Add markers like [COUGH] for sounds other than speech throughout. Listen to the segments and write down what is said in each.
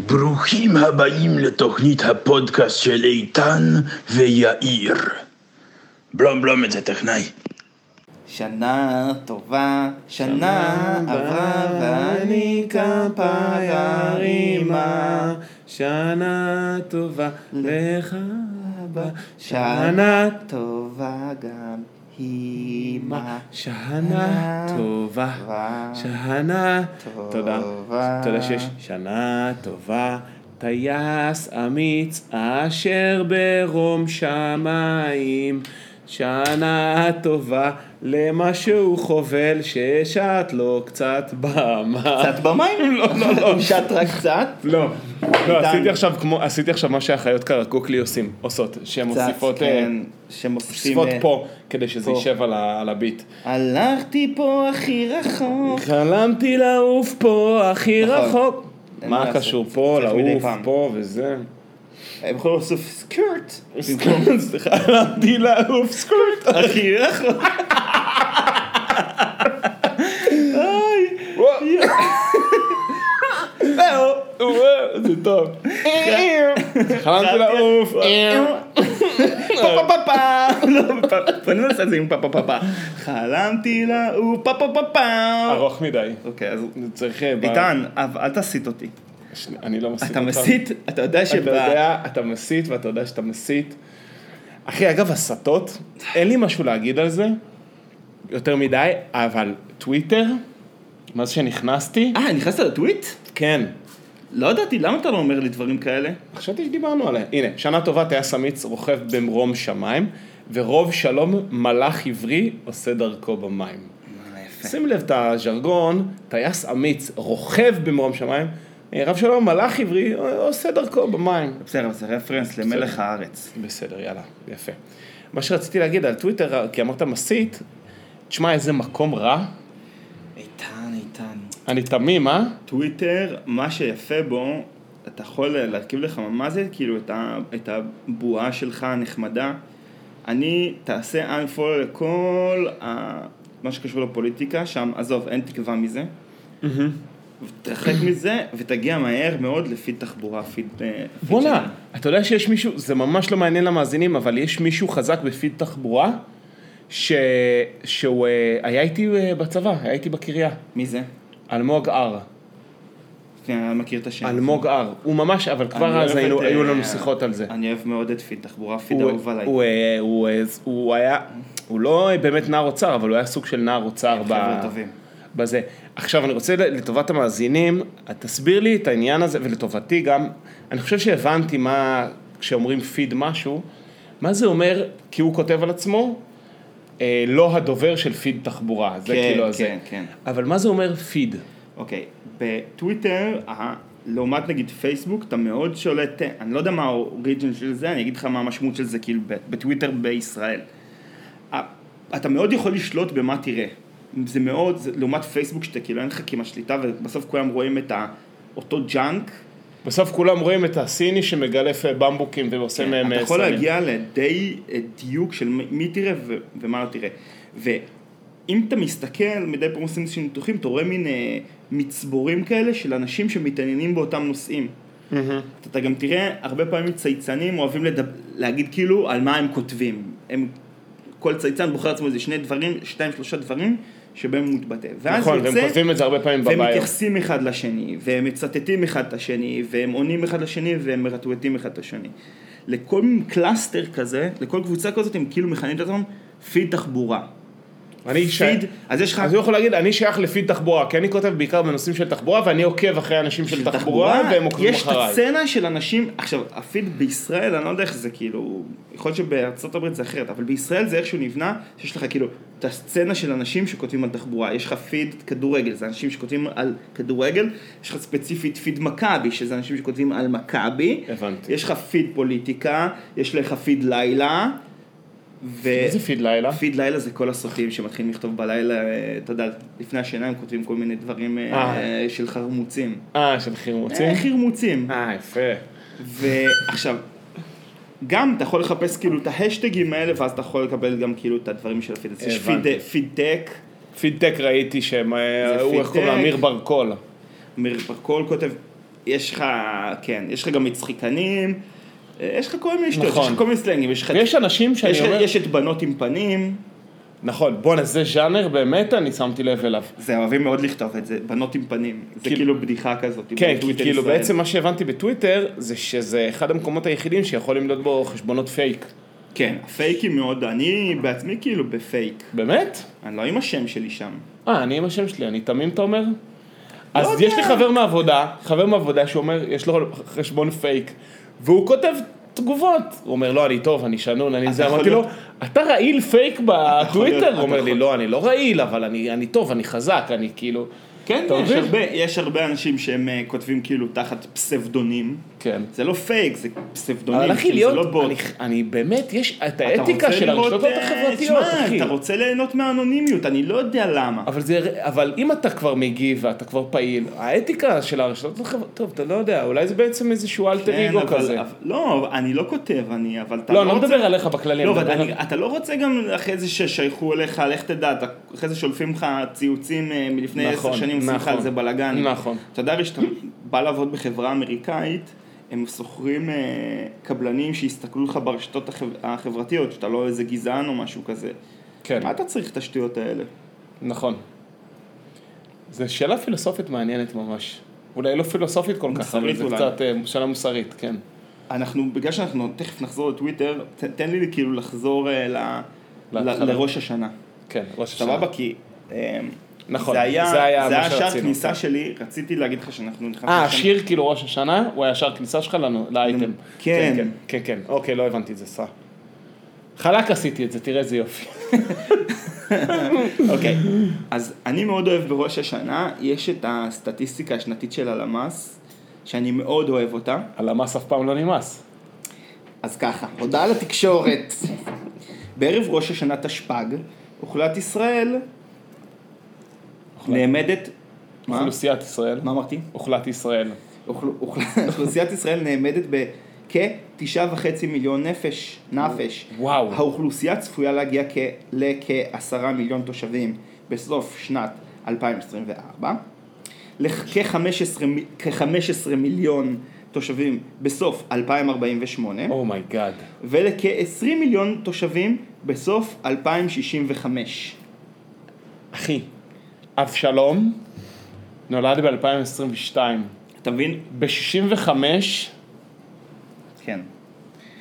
ברוכים הבאים לתוכנית הפודקאסט של איתן ויאיר. בלום בלום את זה טכנאי. שנה טובה, שנה עברה ואני כפרה רימה. שנה טובה לך הבא. שנה שנה טובה גם היא מה. שנה טובה. שנה טובה. תודה. תודה שיש שנה טובה. טייס אמיץ אשר ברום שמיים. שנה טובה למה שהוא חובל ששט לו קצת במה. קצת במים? [LAUGHS] לא, לא, לא. שט רק קצת? לא, לא, איתן. עשיתי עכשיו כמו, עשיתי עכשיו מה שהחיות קרקוקלי עושים, עושות, שהן קצת, מוסיפות, אה, כן, שמוסיפים... מוסיפות אה, פה, כדי שזה פה. יישב על ה- על הביט. הלכתי פה הכי [LAUGHS] רחוק. חלמתי לעוף פה הכי נכון. רחוק. אין מה מה לעשות, קשור פה, צריך מדי לעוף פעם. פה וזה. הם יכולים להוסיף סקירט. סליחה, חלמתי לעוף סקורט. הכי רחוק. וואו. זהו, וואו, אה, זה טוב. אה, חלמתי לעוף. [LAUGHS] פה פה פה פה. לא, פה, פה, אני לא עושה את זה עם פה פה פה פה. חלמתי לה, הוא פה פה פה פה. ארוך מדי. אוקיי, אז זה צריך... אה, ב- איתן, אבל אל תסיט אותי. שני- אני לא מסית אתה אותך. מסית, אתה יודע אתה שב... יודע, אתה מסית ואתה יודע שאתה מסית. אחי, אגב, הסתות, אין לי משהו להגיד על זה יותר מדי, אבל טוויטר, מאז שנכנסתי, אה, נכנסת לטוויט? כן. לא ידעתי, למה אתה לא אומר לי דברים כאלה? חשבתי שדיברנו עליה. הנה, שנה טובה, טייס אמיץ רוכב במרום שמיים, ורוב שלום מלאך עברי עושה דרכו במים. שים לב את הז'רגון, טייס אמיץ רוכב במרום שמיים, רב שלום מלאך עברי עושה דרכו במים. בסדר, זה רפרנס למלך הארץ. בסדר, יאללה, יפה. מה שרציתי להגיד על טוויטר, כי אמרת מסית, תשמע איזה מקום רע, איתן, איתן. אני תמים, אה? כן. טוויטר, מה שיפה בו, אתה יכול להרכיב לך מה זה, כאילו את, ה, את הבועה שלך הנחמדה. אני, תעשה unfollow לכל ה, מה שקשור לפוליטיקה, שם, עזוב, אין תקווה מזה. תרחק מזה, ותגיע מהר מאוד לפיד תחבורה, פיד... אה, פיד בואנה, שלנו. אתה יודע שיש מישהו, זה ממש לא מעניין למאזינים, אבל יש מישהו חזק בפיד תחבורה, ש... שהוא אה, היה איתי אה, בצבא, היה איתי בקריה, מי זה? אלמוג הר. שנייה, אני מכיר את השם. אלמוג הר. הוא ממש, אבל כן. אני כבר אז אוהב היינו- את, היו אה, לנו שיחות על זה. אני אוהב מאוד את פיד תחבורה, פיד הוא- אהוב עליי. הוא, אה, הוא, אה, הוא היה, הוא לא באמת נער אוצר, אבל הוא היה סוג של נער אוצר ב... כן, חבר'ה טובים. בזה. עכשיו אני רוצה לטובת המאזינים, תסביר לי את העניין הזה, ולטובתי גם, אני חושב שהבנתי מה, כשאומרים פיד משהו, מה זה אומר, כי הוא כותב על עצמו, אה, לא הדובר של פיד תחבורה, זה כן, כאילו כן, הזה. כן. אבל מה זה אומר פיד? אוקיי, בטוויטר, אה, לעומת נגיד פייסבוק, אתה מאוד שולט, אה, אני לא יודע מה האוריג'ן של זה, אני אגיד לך מה המשמעות של זה, כאילו, ב- בטוויטר בישראל. אה, אתה מאוד יכול לשלוט במה תראה. זה מאוד, זה, לעומת פייסבוק, שאתה כאילו אין לך כמעט שליטה, ובסוף כולם רואים את ה, אותו ג'אנק. בסוף כולם רואים את הסיני שמגלף אה, במבוקים ועושה מהם... כן, אתה אה, יכול סמים. להגיע לדי אה, דיוק של מ- מי תראה ו- ומה לא תראה. ואם אתה מסתכל, מדי פעם עושים איזשהם ניתוחים, אתה רואה מין אה, מצבורים כאלה של אנשים שמתעניינים באותם נושאים. אתה- אתה גם תראה, הרבה פעמים צייצנים אוהבים לדב... להגיד כאילו על מה הם כותבים. הם... כל צייצן בוחר לעצמו איזה שני דברים, שתיים שלושה דברים שבהם הוא מתבטא. ואז נכון, יוצא, והם כותבים את זה הרבה פעמים והם בביו. מתייחסים אחד לשני, והם מצטטים אחד את השני, והם עונים אחד לשני, והם מרטווטים אחד את השני. לכל מין קלאסטר כזה, לכל קבוצה כזאת, הם כאילו מכנים את עצמם פיד תחבורה. אני שייך, פיד, אז יש לך... אז הוא יכול להגיד, אני שייך לפי תחבורה, כי אני כותב בעיקר בנושאים של תחבורה, ואני עוקב אחרי אנשים של תחבורה, והם עוקבים יש את אחריי. הסצנה של אנשים, עכשיו, הפיד בישראל, אני לא יודע איך זה כאילו, יכול להיות שבארצות הברית זה אחרת, אבל בישראל זה איכשהו נבנה, שיש לך כאילו את הסצנה של אנשים שכותבים על תחבורה, יש לך פיד כדורגל, זה אנשים שכותבים על כדורגל, יש לך ספציפית פיד מכבי, שזה אנשים שכותבים על מכבי, הבנתי. יש לך פיד פוליטיקה, יש לך פיד לילה, ו... איזה פיד לילה? פיד לילה זה כל הסרטים שמתחילים לכתוב בלילה, אה, אתה יודע, לפני השינה הם כותבים כל מיני דברים אה, אה. אה, של חרמוצים. אה, של חרמוצים? אה, חרמוצים. אה, יפה. ועכשיו, גם אתה יכול לחפש כאילו את ההשטגים האלה, ואז אתה יכול לקבל גם כאילו את הדברים של הפיד. אז יש הבנתי. פיד- פידטק, פידטק ראיתי שהם, אה, זה הוא איך קוראים לו, פידטק. אמיר ברקול. אמיר ברקול כותב, יש לך, כן, יש לך גם מצחיקנים, אה, יש לך כל מיני שטויות, יש נכון. לך כל מיני סלנגים, יש לך... ויש אנשים שאני יש, לך- אומר... יש את בנות עם פנים, נכון, בואנה, זה ז'אנר באמת אני שמתי לב אליו. זה אוהבים מאוד לכתוב את זה, בנות עם פנים, זה כאילו- כאילו בדיחה כזאת. כן, כי בטוויטר כאילו ישראל. בעצם מה שהבנתי בטוויטר, זה שזה אחד המקומות היחידים שיכול למדוד בו חשבונות פייק. כן, הפייקים מאוד, אני בעצמי כאילו בפייק, באמת? אני לא עם השם שלי שם. אה, אני עם השם שלי, אני תמים אתה אומר? אז לא יודע. יש לי חבר מעבודה, חבר מעבודה שאומר, יש לו חשבון פייק, והוא כותב תגובות. הוא אומר, לא, אני טוב, אני שנון, אני זה. יכול אמרתי לו, להיות- אתה רעיל פייק להיות- בטוויטר? אתה הוא אומר לי, יכול- לא, אני לא רעיל, אבל אני אני טוב, אני חזק, אני כאילו... כן, אתה יש מבין? הרבה, יש הרבה אנשים שהם אה, כותבים כאילו תחת פסבדונים. כן. זה לא פייק, זה פסבדונים, אבל אחי, כאילו, זה להיות, לא בוט. אני- אני באמת, יש את אתה האתיקה רוצה של לראות, הרשתות אה, החברתיות, שמע, אחי. אתה רוצה ליהנות מהאנונימיות, אני לא יודע למה. אבל, זה, אבל אם אתה כבר מגיב ואתה כבר פעיל, האתיקה של הרשתות החברתיות, טוב, אתה לא יודע, אולי זה בעצם איזשהו אלטר כן, איגו אבל- כזה. אבל- לא, אני לא כותב, אני, אבל אתה לא, אני לא רוצה- מדבר עליך בכללי, לא, אני אבל מדבר אני- אתה לא רוצה גם אחרי זה ששייכו אליך, לך תדע, אתה- אחרי זה שולפים לך ציוצים אה, מלפני עשר נכון, שנים, עושים לך נכון. על זה בלאגן. נכון. אתה יודע, הרי כשאתה בא לעבוד בחברה אמריקאית, הם שוכרים אה, קבלנים שיסתכלו לך ברשתות החב- החברתיות, שאתה לא איזה גזען או משהו כזה. כן, מה אתה צריך את השטויות האלה? נכון. זו שאלה פילוסופית מעניינת ממש. אולי לא פילוסופית כל כך, אבל מוסרית זה אולי. קצת אה, שאלה מוסרית, כן. אנחנו, בגלל שאנחנו תכף נחזור לטוויטר, ת- תן לי כאילו לחזור אה, ל... להתחלה. ל- לראש השנה. כן, ראש השנה. סבבה? כי... אה, נכון, זה היה, זה היה, מה שער שרצינו. כניסה שלי, רציתי להגיד לך שאנחנו נכנסנו... אה, לשם. השיר כאילו ראש השנה, הוא היה שער כניסה שלך לנו, לאייטם. כן. כן, כן, כן, אוקיי, לא הבנתי את זה, סע. חלק עשיתי את זה, תראה איזה יופי. [LAUGHS] אוקיי. אז אני מאוד אוהב בראש השנה, יש את הסטטיסטיקה השנתית של הלמ"ס, שאני מאוד אוהב אותה. הלמ"ס אף פעם לא נמאס. אז ככה, הודעה לתקשורת. בערב ראש השנה תשפ"ג, אוכלת ישראל נעמדת... מה? אוכלוסיית ישראל. מה אמרתי? אוכלת ישראל. אוכל- אוכל- [LAUGHS] אוכלוסיית ישראל נאמדת בכ-9.5 מיליון נפש, נפש. וואו. האוכלוסייה צפויה להגיע כ- לכ-10 מיליון תושבים בסוף שנת 2024, לכ-15 מיליון תושבים בסוף 2048, אומייגאד. ולכ-20 מיליון תושבים בסוף 2065. אחי, אבשלום נולד ב-2022. אתה מבין? ב-65 כן.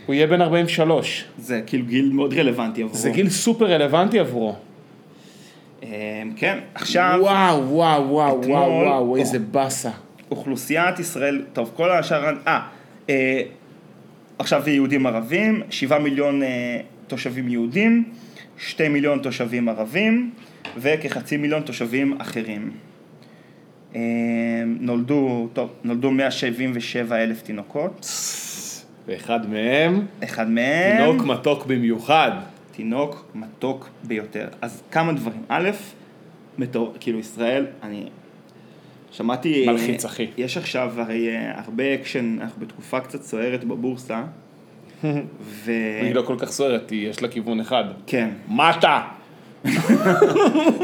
הוא יהיה בן 43. זה כאילו גיל מאוד רלוונטי עבורו. זה גיל סופר רלוונטי עבורו. אה, כן, עכשיו... וואו, וואו, וואו, אתמול- וואו, וואו, או. איזה באסה. אוכלוסיית ישראל, טוב, כל השאר, אה, אה עכשיו זה יהודים ערבים, שבעה מיליון אה, תושבים יהודים, שתי מיליון תושבים ערבים, וכחצי מיליון תושבים אחרים. אה, נולדו, טוב, נולדו 177 אלף תינוקות, ואחד מהם, אחד מהם... תינוק מתוק במיוחד. תינוק מתוק ביותר. אז כמה דברים. א', מטור, כאילו ישראל, אני שמעתי... מלחיץ, אחי. יש עכשיו הרי אה, הרבה אקשן, אנחנו בתקופה קצת סוערת [LAUGHS] בבורסה, ו... היא לא כל כך סוערת, היא- יש לה כיוון אחד. כן, מטה!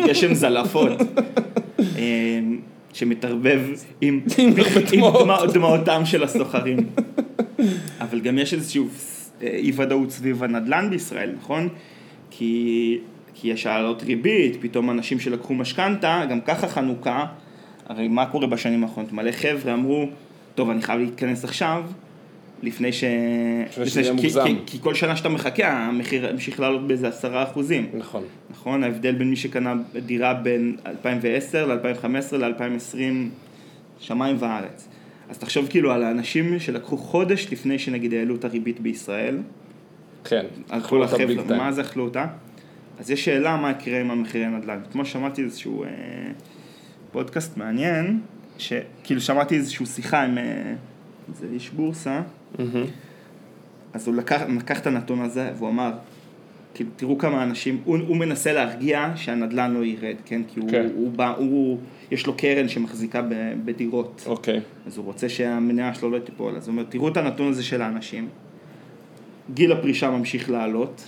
יש שם זלעפות. אה, שמתערבב עם, עם עם דמעות. דמע- דמעותם של הסוחרים. אבל גם יש איזושהי אי ודאות סביב הנדל"ן בישראל, נכון? כי, כי יש העלות ריבית, פתאום אנשים שלקחו משכנתה, גם ככה חנוכה, הרי מה קורה בשנים האחרונות? מלא חבר'ה אמרו, טוב, אני חייב להיכנס עכשיו, לפני ש... שזה לפני יהיה כי- מוגזם. כי, כי כל שנה שאתה מחכה, המחיר המשיך לעלות באיזה עשרה אחוזים. נכון. נכון? ההבדל בין מי שקנה דירה בין 2010 ל-2015 ל-2020, שמיים וארץ. אז תחשוב כאילו על האנשים שלקחו חודש לפני שנגיד העלו את הריבית בישראל, כן. על אכלו כל אותה ביג החבר'ה, טיים. מה זה אכלו אותה? אז יש שאלה מה יקרה עם המחירי נדל"ן. אתמול שמעתי איזשהו אה, פודקאסט מעניין, שכאילו שמעתי איזשהו שיחה עם אה, איזה איש בורסה, מהמם. אז הוא לקח, לקח את הנתון הזה והוא אמר, כאילו, תראו כמה אנשים, הוא, הוא מנסה להרגיע שהנדלן לא ירד, כן? כי הוא, כן. כן. הוא בא, הוא, יש לו קרן שמחזיקה ב, בדירות, אוקיי. אז הוא רוצה שהמניה שלו לא תיפול, אז הוא אומר, תראו את הנתון הזה של האנשים, גיל הפרישה ממשיך לעלות,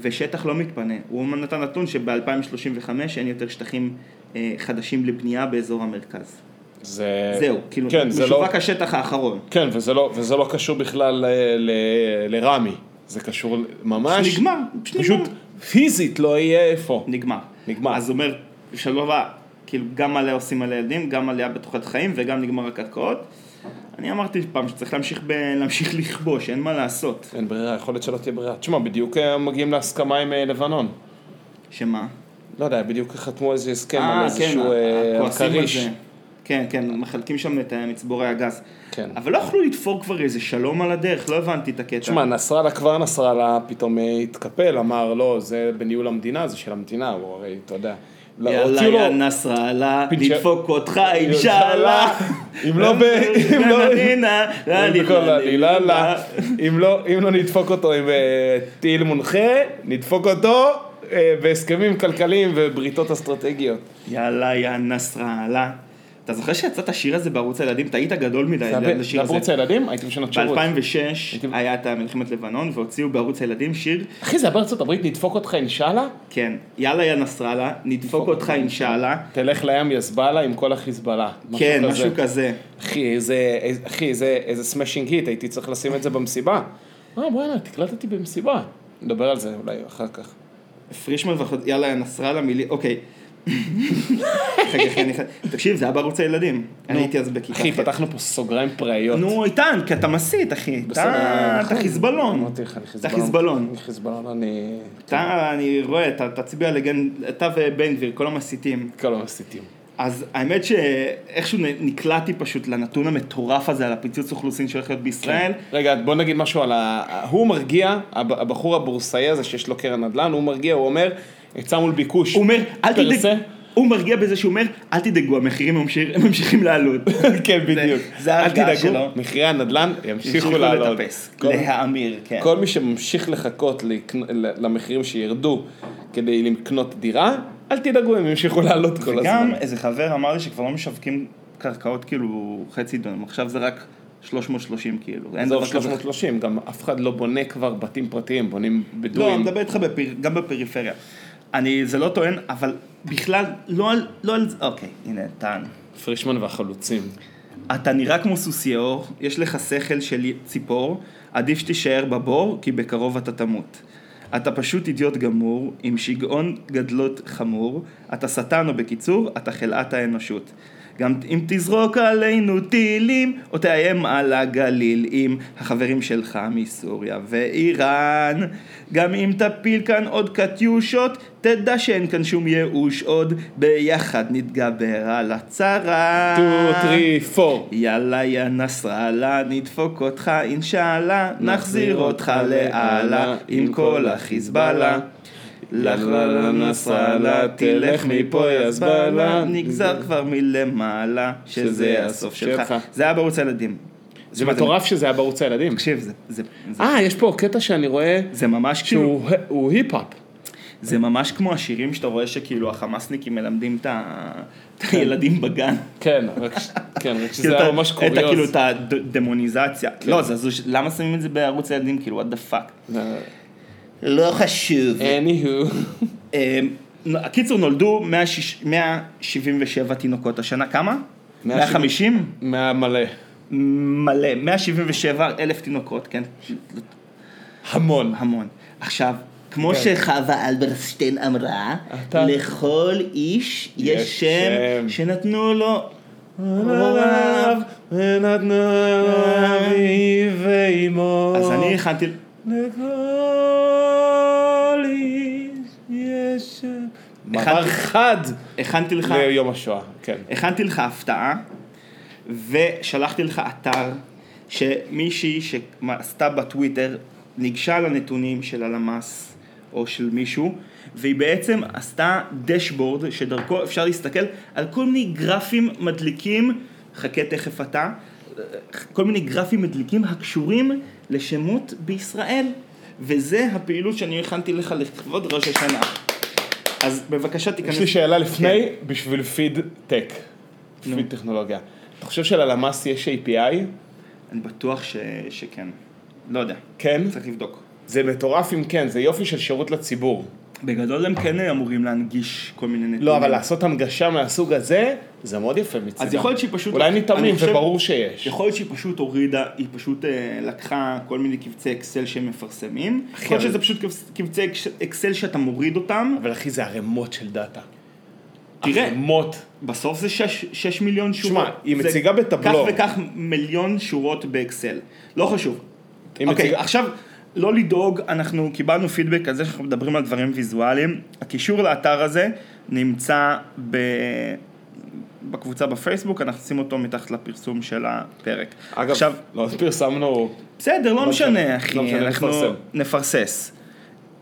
ושטח לא מתפנה. הוא נתן נתון שב-2035 אין יותר שטחים אה, חדשים לבנייה באזור המרכז. זה... זהו, כאילו, כן, זה לא... משווק השטח האחרון. כן, וזה לא, וזה לא קשור בכלל ל, ל, לרמי, זה קשור ל- ממש... נגמר, פשוט פשוט נגמר. פיזית לא יהיה איפה. נגמר. נגמר. אז אומר, שלווה, כאילו גם עליה עושים על הילדים, גם עליה בתוחלת חיים וגם נגמר הקרקעות. אני אמרתי פעם שצריך להמשיך, ב... להמשיך לכבוש, אין מה לעשות. אין ברירה, יכול להיות שלא תהיה ברירה. תשמע, בדיוק אה, מגיעים להסכמה עם אה, לבנון. שמה? לא יודע, בדיוק חתמו איזה הסכם על אה, כן, איזשהו אה, על הכועסים על כריש. זה. כן, כן, מחלקים שם את אה, מצבורי הגז. כן. אבל לא יכלו לתפור כבר איזה שלום על הדרך, לא הבנתי את הקטע. תשמע, נסראללה כבר נסראללה פתאום אה, התקפל, אמר לא, זה בניהול המדינה, זה של המדינה, הוא הרי, אתה יודע. לא, יאללה, הוציאו לו- יא נסראללה, פינצ'ה- נדפוק אותך, אינשאללה. אה, אם לא ב... [LAUGHS] אם לא... ננינה, ננינה, בכל העלילה, ננינה. לה. אם לא- אם לא נדפוק אותו עם אה, טיל מונחה, נדפוק אותו אה, בהסכמים כלכליים ובריתות אסטרטגיות. אה, יאללה, יא נסראללה. אתה זוכר שיצא את השיר הזה בערוץ הילדים? אתה היית גדול מדי זה ליד היה השיר בערוץ הזה. הילדים? הייתי בשנות שירות. ב-2006 הייתי- היה את אה, מלחמת לבנון, והוציאו בערוץ הילדים שיר, אחי, זה היה בארצות הברית, נדפוק אותך אינשאללה? כן, יאללה יא נסראללה, נדפוק אותך אינשאללה. תלך לים יזבאללה עם כל החיזבאללה. כן, משהו כזה. אחי, איזה, איזה- אחי, איזה, איזה סמאשינג היט, הייתי צריך לשים את זה במסיבה. אה, וואלה, תקלטתי במסיבה. נדבר על זה אולי אחר כך. פרישמן ואחוז, יאללה יא נסראללה מילי, אוקיי. [LAUGHS] רגע, אחי, אני חי- תקשיב, זה היה בערוץ הילדים. אני הייתי אז בכיתה אחי, ח'. פתחנו פה סוגריים פראיות. אה, נכון. נו, איתן, כי אתה מסית, אחי. אתה אתה חיזבאלון. אמרתי לך, אני אתה חיזבאלון. אני חיזבאלון, אני... אתה, אני רואה, אתה תצביע לגן, אתה ובן גביר, כל המסיתים. כל המסיתים. אז האמת שאיכשהו נקלעתי פשוט לנתון המטורף הזה על הפיצוץ אוכלוסין שהולך להיות בישראל. כן. רגע, בוא נגיד משהו על ה... הוא מרגיע, הב- הבחור הבורסאי הזה שיש לו קרן נדל"ן, הוא מרגיע, הוא אומר, היצע מול ביקוש. הוא אומר, אל תדאג, פרסה. הוא מרגיע בזה שהוא אומר, אל תדאגו, המחירים ממשיך- ממשיכים לעלות. [LAUGHS] כן, בדיוק. זה ההרגעה אל תדאגו, שלו. מחירי הנדל"ן ימשיכו המשיכו לעלות. לטפס, כל- להאמיר, כן. כל מי שממשיך לחכות לקנ- למחירים שירדו כדי לקנות דירה, אל תדאגו, הם ימשיכו לעלות כל הזמן. גם איזה חבר אמר לי שכבר לא משווקים קרקעות כאילו חצי דונם, עכשיו זה רק 330 כאילו. אין עזוב דבר כזה. 330, גם אף אחד לא בונה כבר בתים פרטיים, בונים לא, אני בדואים. מדבר איתך בפר... גם בפריפריה. אני, זה לא טוען, אבל בכלל, לא על, לא על, אוקיי, הנה, טען. פרישמן והחלוצים. אתה נראה כמו סוסיור, יש לך שכל של ציפור, עדיף שתישאר בבור, כי בקרוב אתה תמות. אתה פשוט אידיוט גמור, עם שיגעון גדלות חמור, אתה שטן או בקיצור, אתה חלאת האנושות. גם אם תזרוק עלינו טילים, או תאיים על הגליל עם החברים שלך מסוריה ואיראן. גם אם תפיל כאן עוד קטיושות, תדע שאין כאן שום ייאוש עוד, ביחד נתגבר על הצרה. 2, 3, 4. יאללה יא נסראללה, נדפוק אותך אינשאללה, נחזיר אותך לאללה עם כל החיזבאללה. לך לה נסראללה, תלך מפה יא זבאללה, נגזר כבר מלמעלה, שזה הסוף שלך. זה היה בערוץ הילדים. זה מטורף שזה היה בערוץ הילדים. תקשיב, זה- זה- זה- אה, יש פה קטע שאני רואה זה ממש כאילו, שהוא הוא היפ-האפ. זה ממש כמו השירים שאתה רואה שכאילו החמאסניקים מלמדים את ה- את הילדים בגן. כן, רק ש- כן, [LAUGHS] רק שזה כאילו, היה אתה- ממש את ה- כאילו קוריוז. כן. את הדמוניזציה. לא, זה- זה- למה שמים את זה בערוץ הילדים? כאילו, what the fuck. לא חשוב. אה. Anywho. [LAUGHS] אמ, הקיצור, נולדו 160 177 תינוקות השנה, כמה? 170. 150? מהמלא. מלא, 177 אלף תינוקות, כן? המון. כן. המון. עכשיו, כמו שחווה אלברשטיין אמרה, אתה- לכל איש יש יש שם שם. שנתנו לו... עליו ונתנו עליו היא ואימו. אז אני הכנתי... לכל איש יש שם. מעבר חד הכנתי לך... ליום השואה, כן. הכנתי לך הפתעה, ושלחתי לך אתר שמישהי שעשתה בטוויטר, ניגשה לנתונים של הלמ"ס או של מישהו, והיא בעצם עשתה דשבורד שדרכו אפשר להסתכל על כל מיני גרפים מדליקים, חכה תכף אתה, כל מיני גרפים מדליקים הקשורים לשמות בישראל, וזה הפעילות שאני הכנתי לך לכבוד ראש השנה. אז בבקשה תיכנס. יש לי שאלה לפני, כן. בשביל פיד טק. פיד טכנולוגיה. אתה חושב שללמ"ס יש API? אני בטוח ש... שכן. לא יודע. כן? צריך לבדוק. זה מטורף אם כן, זה יופי של שירות לציבור. בגדול הם כן אמורים להנגיש כל מיני נתונים. לא, אבל לעשות הנגשה מהסוג הזה, זה מאוד יפה מצדם. אז יכול להיות שהיא פשוט... אולי אני נתעמים, חושב- וברור שיש. יכול להיות שהיא פשוט הורידה, היא פשוט אה, לקחה כל מיני קבצי אקסל שהם מפרסמים. אחי, יכול להיות אבל- שזה פשוט קבצ- קבצי אקש- אקסל שאתה מוריד אותם. אבל אחי, זה ערימות של דאטה. תראה. ערימות. בסוף זה 6 מיליון שורות. שמע, היא זה מציגה בטבלו. כך וכך מיליון שורות באקסל. לא חשוב. היא אוקיי, מציגה- עכשיו, לא לדאוג, אנחנו קיבלנו פידבק על זה שאנחנו מדברים על דברים ויזואליים. הקישור לאתר הזה נמצא ב... בקבוצה בפייסבוק, אנחנו נשים אותו מתחת לפרסום של הפרק. אגב, עכשיו, לא פרסמנו... בסדר, לא משנה, משנה, לא אחי, משנה, אנחנו נפרסם. נפרסס.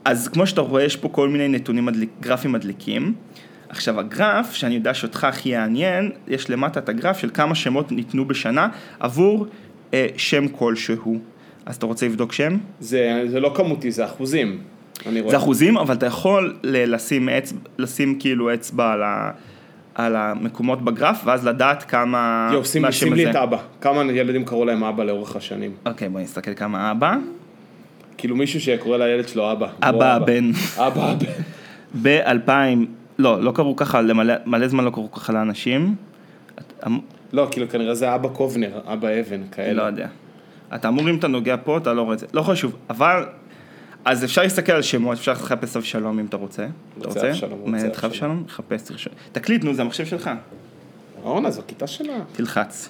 אז כמו שאתה רואה, יש פה כל מיני נתונים, מדליק, גרפים מדליקים. עכשיו, הגרף, שאני יודע שאותך הכי יעניין, יש למטה את הגרף של כמה שמות ניתנו בשנה עבור אה, שם כלשהו. אז אתה רוצה לבדוק שם? זה זה לא כמותי, זה אחוזים. אני רואה. זה אחוזים, אבל אתה יכול ל- לשים, אצבע, לשים כאילו אצבע על, ה, על המקומות בגרף, ואז לדעת כמה... יואו, שים לי- מהשם שים לי הזה. את אבא. כמה ילדים קראו להם אבא לאורך השנים. אוקיי, בוא נסתכל כמה אבא. כאילו מישהו שקורא לילד שלו אבא. הוא אבא הבן. אבא הבן. ב-2000, לא, לא קראו ככה, למלא, מלא זמן לא קראו ככה לאנשים. את- אמ- לא, כאילו כנראה זה אבא קובנר, אבא אבן, לא כאלה. יודע. אתה אמור, אם אתה נוגע פה, אתה לא רואה את זה. לא חשוב, אבל... אז אפשר להסתכל על שמות, אפשר לחפש אבשלום אם אתה רוצה. אתה רוצה אבשלום, רוצה מעניין אותך אבשלום. אבשלום? חפש, תרשום. תקליט, נו, זה המחשב שלך. אורנה, זו כיתה שלה. תלחץ.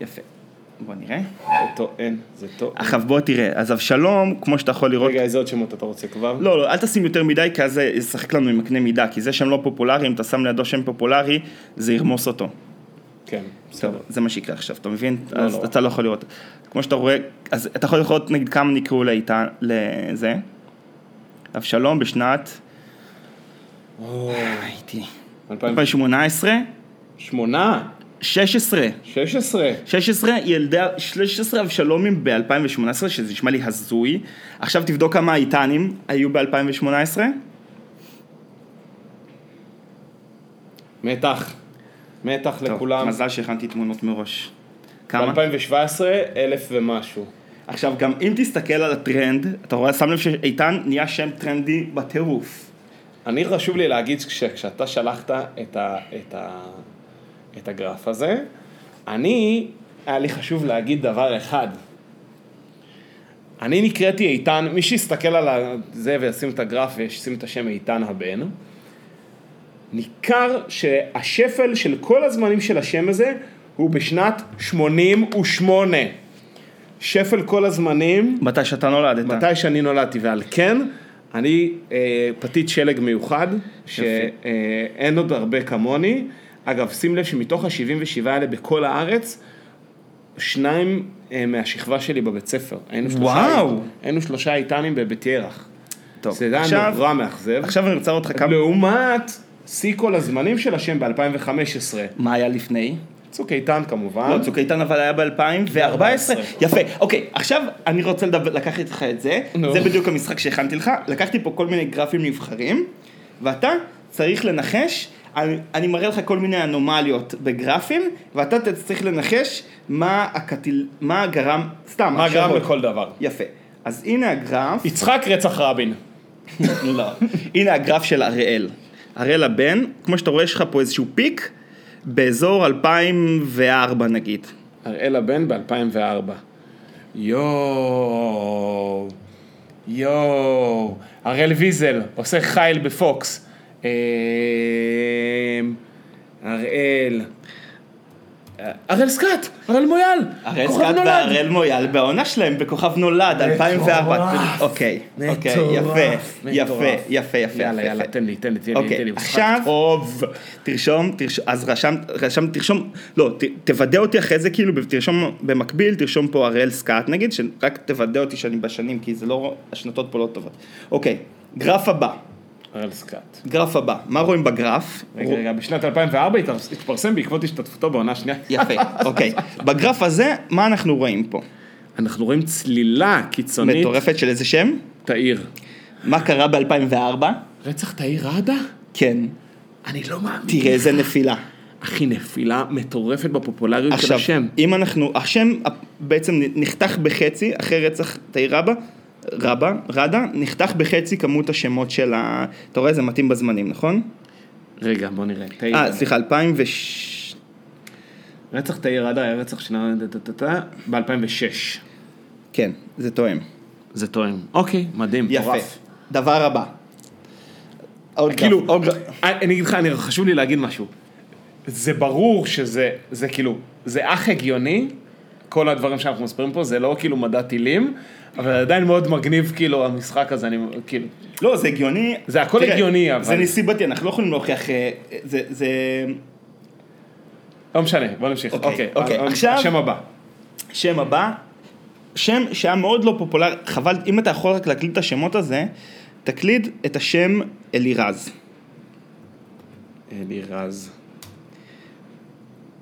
יפה. בוא נראה. זה טוען, זה טוען. עכשיו בוא תראה, אז אבשלום, כמו שאתה יכול לראות... רגע, איזה עוד שמות אתה רוצה כבר? לא, לא, אל תשים יותר מדי, כי אז זה ישחק לנו עם הקנה מידה, כי זה שם לא פופולרי, אם אתה שם לידו שם פופולרי, זה ירמוס אותו. כן, בסדר. טוב, זה מה שיקרה עכשיו, אתה מבין? לא, אז לא. אתה לא יכול לראות. כמו שאתה רואה, אז אתה יכול לראות נגיד כמה נקראו לאיתן, לזה. אבשלום בשנת, אה, הייתי, 2018, שמונה, 16. שש עשרה. 16 ילדי, 13 אבשלומים ב-2018, שזה נשמע לי הזוי. עכשיו תבדוק כמה איתנים היו ב-2018. מתח. מתח לכולם. מזל שהכנתי תמונות מראש. כמה? ב-2017, אלף ומשהו. עכשיו גם אם תסתכל על הטרנד, אתה רואה, שם לב שאיתן נהיה שם טרנדי בטירוף. אני חשוב לי להגיד שכשאתה שלחת את, ה, את, ה, את הגרף הזה, אני, היה לי חשוב להגיד דבר אחד. אני נקראתי איתן, מי שיסתכל על ה- זה וישים את הגרף וישים את השם איתן הבן, ניכר שהשפל של כל הזמנים של השם הזה הוא בשנת 88. שפל כל הזמנים מתי שאתה נולדת. מתי שאני נולדתי, ועל כן, אני אה, פתית שלג מיוחד, שאין אה, עוד הרבה כמוני. אגב, שים לב שמתוך ה-77 האלה בכל הארץ, שניים אה, מהשכבה שלי בבית ספר. היינו שלושה, וואו. היינו שלושה איתנים בבית ירח. טוב, זה היה עכשיו- נורא מאכזב. עכשיו אני רוצה אותך לא. כמה... לעומת שיא כל הזמנים של השם ב-2015. מה היה לפני? צוק איתן כמובן. לא, צוק איתן אבל היה ב-2014. יפה, אוקיי, עכשיו אני רוצה לדבר, לקחת איתך את זה, נו. זה בדיוק המשחק שהכנתי לך, לקחתי פה כל מיני גרפים נבחרים, ואתה צריך לנחש, אני, אני מראה לך כל מיני אנומליות בגרפים, ואתה תצטרך לנחש מה הקטיל, מה גרם, סתם, מה גרם השערות. לכל דבר. יפה, אז הנה [LAUGHS] הגרף, יצחק רצח רבין. לא. [LAUGHS] הנה הגרף של הראל. הראל הבן, כמו שאתה רואה, יש לך פה איזשהו פיק באזור 2004 נגיד. הראל הבן ב-2004. יואו, יואו, הראל ויזל עושה חייל בפוקס. אמ, הראל. הראל סקאט, הראל מויאל. הראל כוכב סקאט נולד. והראל מויאל בעונה שלהם בכוכב נולד, 2004. מטורף. אוקיי, אוקיי, מטורף, יפה, יפה, מטורף. יפה, יפה. יאללה, יפה. יאללה, תן לי, תן לי, תן לי, אוקיי, תן לי. הוא שחק עכשיו- טוב. תרשום, תרשום, אז רשמת, רשמת, תרשום, לא, ת, תוודא אותי אחרי זה כאילו, תרשום במקביל, תרשום פה הראל סקאט נגיד, שרק תוודא אותי שאני בשנים, כי זה לא, השנתות פה לא טובות. אוקיי, גרף הבא, הראל סקאט. גרף הבא, מה רואים בגרף? רגע, רגע, בשנת 2004 התפרס- התפרסם בעקבות השתתפותו בעונה שנייה. יפה, [LAUGHS] אוקיי. בגרף הזה, מה אנחנו רואים פה? אנחנו רואים צלילה קיצונית. מטורפת של איזה שם? תאיר. מה קרה ב-2004? רצח תאיר ראדה? כן. אני לא מאמין. תראה איזה נפילה. אחי, נפילה מטורפת בפופולריות של עכשיו, השם. אם אנחנו, השם בעצם נחתך בחצי אחרי רצח תאיר אבא, רבה, רדה, נחתך בחצי כמות השמות של ה... אתה רואה, זה מתאים בזמנים, נכון? רגע, בוא נראה. תאיר. אה, סליחה, 2006. רצח תאיר עדה היה רצח של... ב-2006. כן, זה תואם. זה תואם. אוקיי, מדהים, יפה. מטורף. דבר הבא. עוד כאילו, דבר, עוד דבר. אני אני אגיד לך, אני- חשוב לי להגיד משהו. זה ברור שזה, זה כאילו, זה אך הגיוני, כל הדברים שאנחנו מספרים פה, זה לא כאילו מדע טילים, אבל עדיין מאוד מגניב, כאילו, המשחק הזה, אני, כאילו, לא, זה הגיוני. זה הכל תראה, הגיוני, אבל- זה נסיבתי, אנחנו לא יכולים להוכיח... אה, זה... זה... לא משנה, בוא נמשיך. אוקיי, אוקיי, אוקיי, אה, אה, עכשיו- השם הבא. שם הבא, שם שהיה מאוד לא פופולרי, חבל, אם אתה יכול רק להקליד את השמות הזה, תקליד את השם אלירז. אלירז.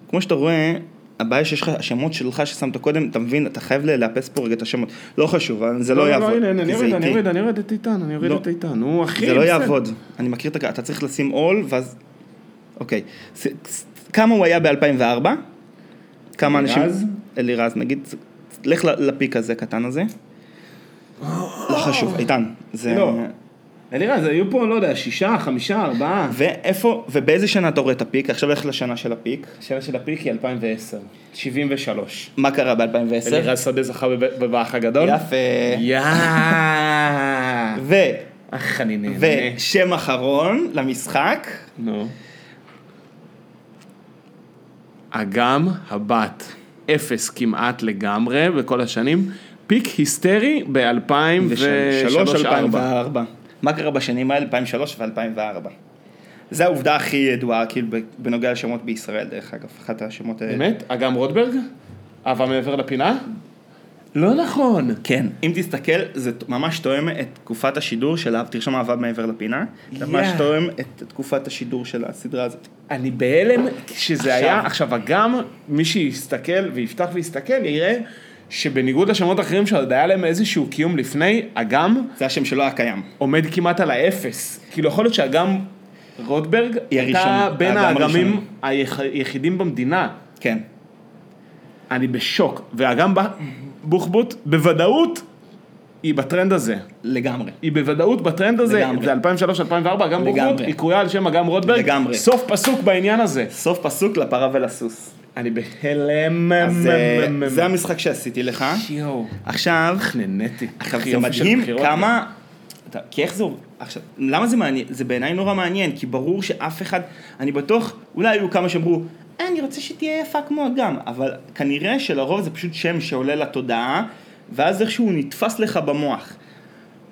כמו שאתה רואה, הבעיה שיש לך, השמות שלך ששמת קודם, אתה מבין, אתה חייב ל- לאפס פה רגע את השמות. לא חשוב, אבל זה לא, לא, יעבוד. לא, הנה, כי אני זה יורד, אני איטי. יורד, אני יורד את איתן, אני יורד לא. את איתן. נו, אחי, זה לא בסדר. יעבוד. אני מכיר את הק... אתה צריך לשים עול, ואז... אוקיי. ס- ס- כמה הוא היה ב-2004? כמה אנשים... אלירז? אלירז, נגיד. ס- לך ל- לפיק הזה, קטן הזה. לא חשוב, איתן. זה... לא. אלירז, היו פה, לא יודע, שישה, חמישה, ארבעה. ואיפה, ובאיזה שנה אתה רואה את הפיק? עכשיו לך לשנה של הפיק. השאלה של הפיק היא 2010, 73. מה קרה ב-2010? אלירז שדה זכה בב- בבאח הגדול. יפה. יאה. ו... אך אני נהנה. ושם אחרון למשחק, נו. אגם הבת, אפס כמעט לגמרי בכל השנים, פיק היסטרי ב-2003-2004. 2003-2004. מה קרה בשנים האלה, 2003 ו-2004? זה העובדה הכי ידועה, כאילו, בנוגע לשמות בישראל, דרך אגב, אחת השמות אה, האלה. באמת? אגם רוטברג? אהבה מעבר לפינה? לא נכון. כן. אם תסתכל, זה ממש תואם את תקופת השידור של ה... תרשום אהבה מעבר לפינה. זה ממש יאה. תואם את תקופת השידור של הסדרה הזאת. אני בהלם שזה עכשיו. היה, עכשיו אגם, מי שיסתכל ויפתח ויסתכל יראה שבניגוד לשמות האחרים שעוד היה להם איזשהו קיום לפני, אגם זה השם שלא היה קיים. עומד כמעט על האפס. כאילו יכול להיות שאגם רוטברג היא הייתה הראשונה, בין האגם האגמים היח- היחידים במדינה. כן. אני בשוק. ואגם ב- בוחבוט בוודאות היא בטרנד הזה. לגמרי. היא בוודאות בטרנד הזה, לגמרי. זה 2003-2004, אגם בוחבוט, לגמרי. היא קרויה על שם אגם רוטברג. לגמרי. סוף פסוק בעניין הזה. סוף פסוק לפרה ולסוס. אני בהלם. אז אה, זה המשחק שעשיתי לך. יואו. עכשיו, נהניתי. עכשיו אחי, זה יופי של מדהים בחירות. כן. כמה... אתה- כי איך זה... עובד? עכשיו, למה זה מעניין? זה בעיניי נורא מעניין, כי ברור שאף אחד... אני בטוח, אולי היו כמה שאמרו, "אה, אני רוצה שתהיה יפה כמו אגם, אבל כנראה שלרוב זה פשוט שם שעולה לתודעה, ואז איכשהו הוא נתפס לך במוח.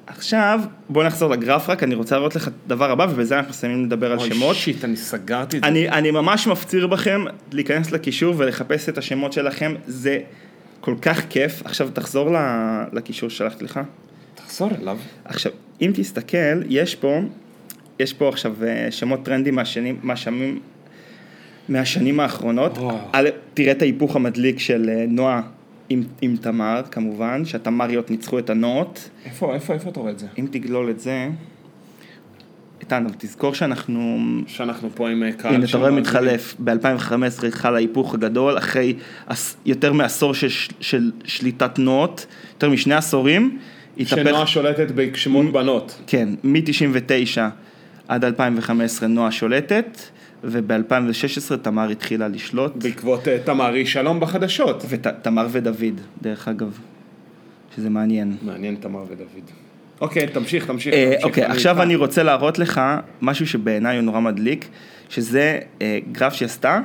עכשיו, בוא נחזור לגרף רק, אני רוצה להראות לך את הדבר הבא, ובזה אנחנו מסיימים לדבר על אוי, שמות. שיט, אני סגרתי את זה. אני, אני ממש מפציר בכם להיכנס לקישור ולחפש את השמות שלכם, זה כל כך כיף. עכשיו תחזור ל- לקישור ששלחתי לך. תחזור אליו. עכשיו, אם תסתכל, יש פה, יש פה עכשיו אה, שמות טרנדים מהשנים, מהשמים, מהשנים האחרונות. וואו. א', תראה את ההיפוך המדליק של אה, נועה עם, עם תמר, כמובן, שהתמריות ניצחו את הנועות. איפה, איפה, איפה אתה רואה את זה? אם תגלול את זה... איתן, אבל תזכור שאנחנו שאנחנו פה עם אה, קהל. הנה, אתה רואה שמאזין. מתחלף, ב-2015 חל ההיפוך הגדול, אחרי עש- יותר מעשור של, ש- של שליטת תנועות, יותר משני עשורים, שנועה התהפך, שולטת בשמות בנות. כן, מ-99 עד 2015 נועה שולטת, וב-2016 תמר התחילה לשלוט, בעקבות אה, תמרי שלום בחדשות. ותמר ודוד, דרך אגב, שזה מעניין. מעניין תמר ודוד. אוקיי, תמשיך, תמשיך. אה, תמשיך, אוקיי, עכשיו איתך. אני רוצה להראות לך משהו שבעיניי הוא נורא מדליק, שזה אה, גרף שהיא עשתה. היא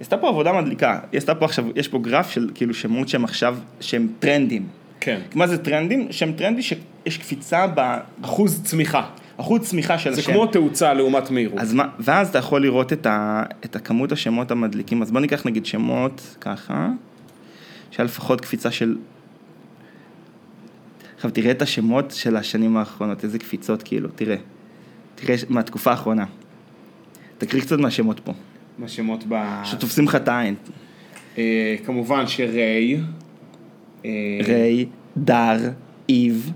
עשתה פה עבודה מדליקה, היא עשתה פה עכשיו, יש פה גרף של כאילו שמות שהם עכשיו, שהם טרנדים. כן. מה זה טרנדים? שם טרנדי שיש קפיצה אחוז צמיחה. באחוז צמיחה של זה השם. כמו תאוצה לעומת מהירות. אז מה, ואז אתה יכול לראות את, ה, את הכמות השמות המדליקים, אז בוא ניקח נגיד שמות ככה, שהיה לפחות קפיצה של... עכשיו תראה את השמות של השנים האחרונות, איזה קפיצות כאילו, תראה. תראה ש- מהתקופה האחרונה. תקריא קצת מהשמות פה, השמות ב... שתופסים לך את העין. אה, כמובן שריי. אה, ריי, דר, איב,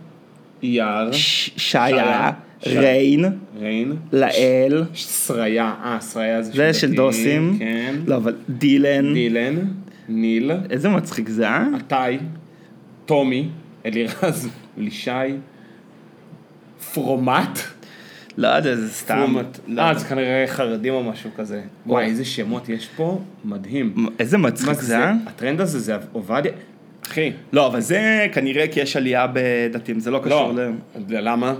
אייר. ש- אה. שיה, שיה, שיה. ריין, ריין. לאל, שריה, אה, שריה זה זה של דתי, דוסים. כן. לא, אבל דילן. דילן, ניל, איזה מצחיק זה, אה? עטאי, טומי, אלירז לישי, פרומט. לא יודע, זה סתם. פרומט. לא אה, יודע. זה כנראה חרדים או משהו כזה. וואי, איזה שמות יש פה, מדהים. מ- איזה מצחיק זה, אה? הטרנד הזה זה עובדיה. אחי, לא, אבל זה כנראה כי יש עלייה בדתיים, זה לא לא. קשור ל... למה?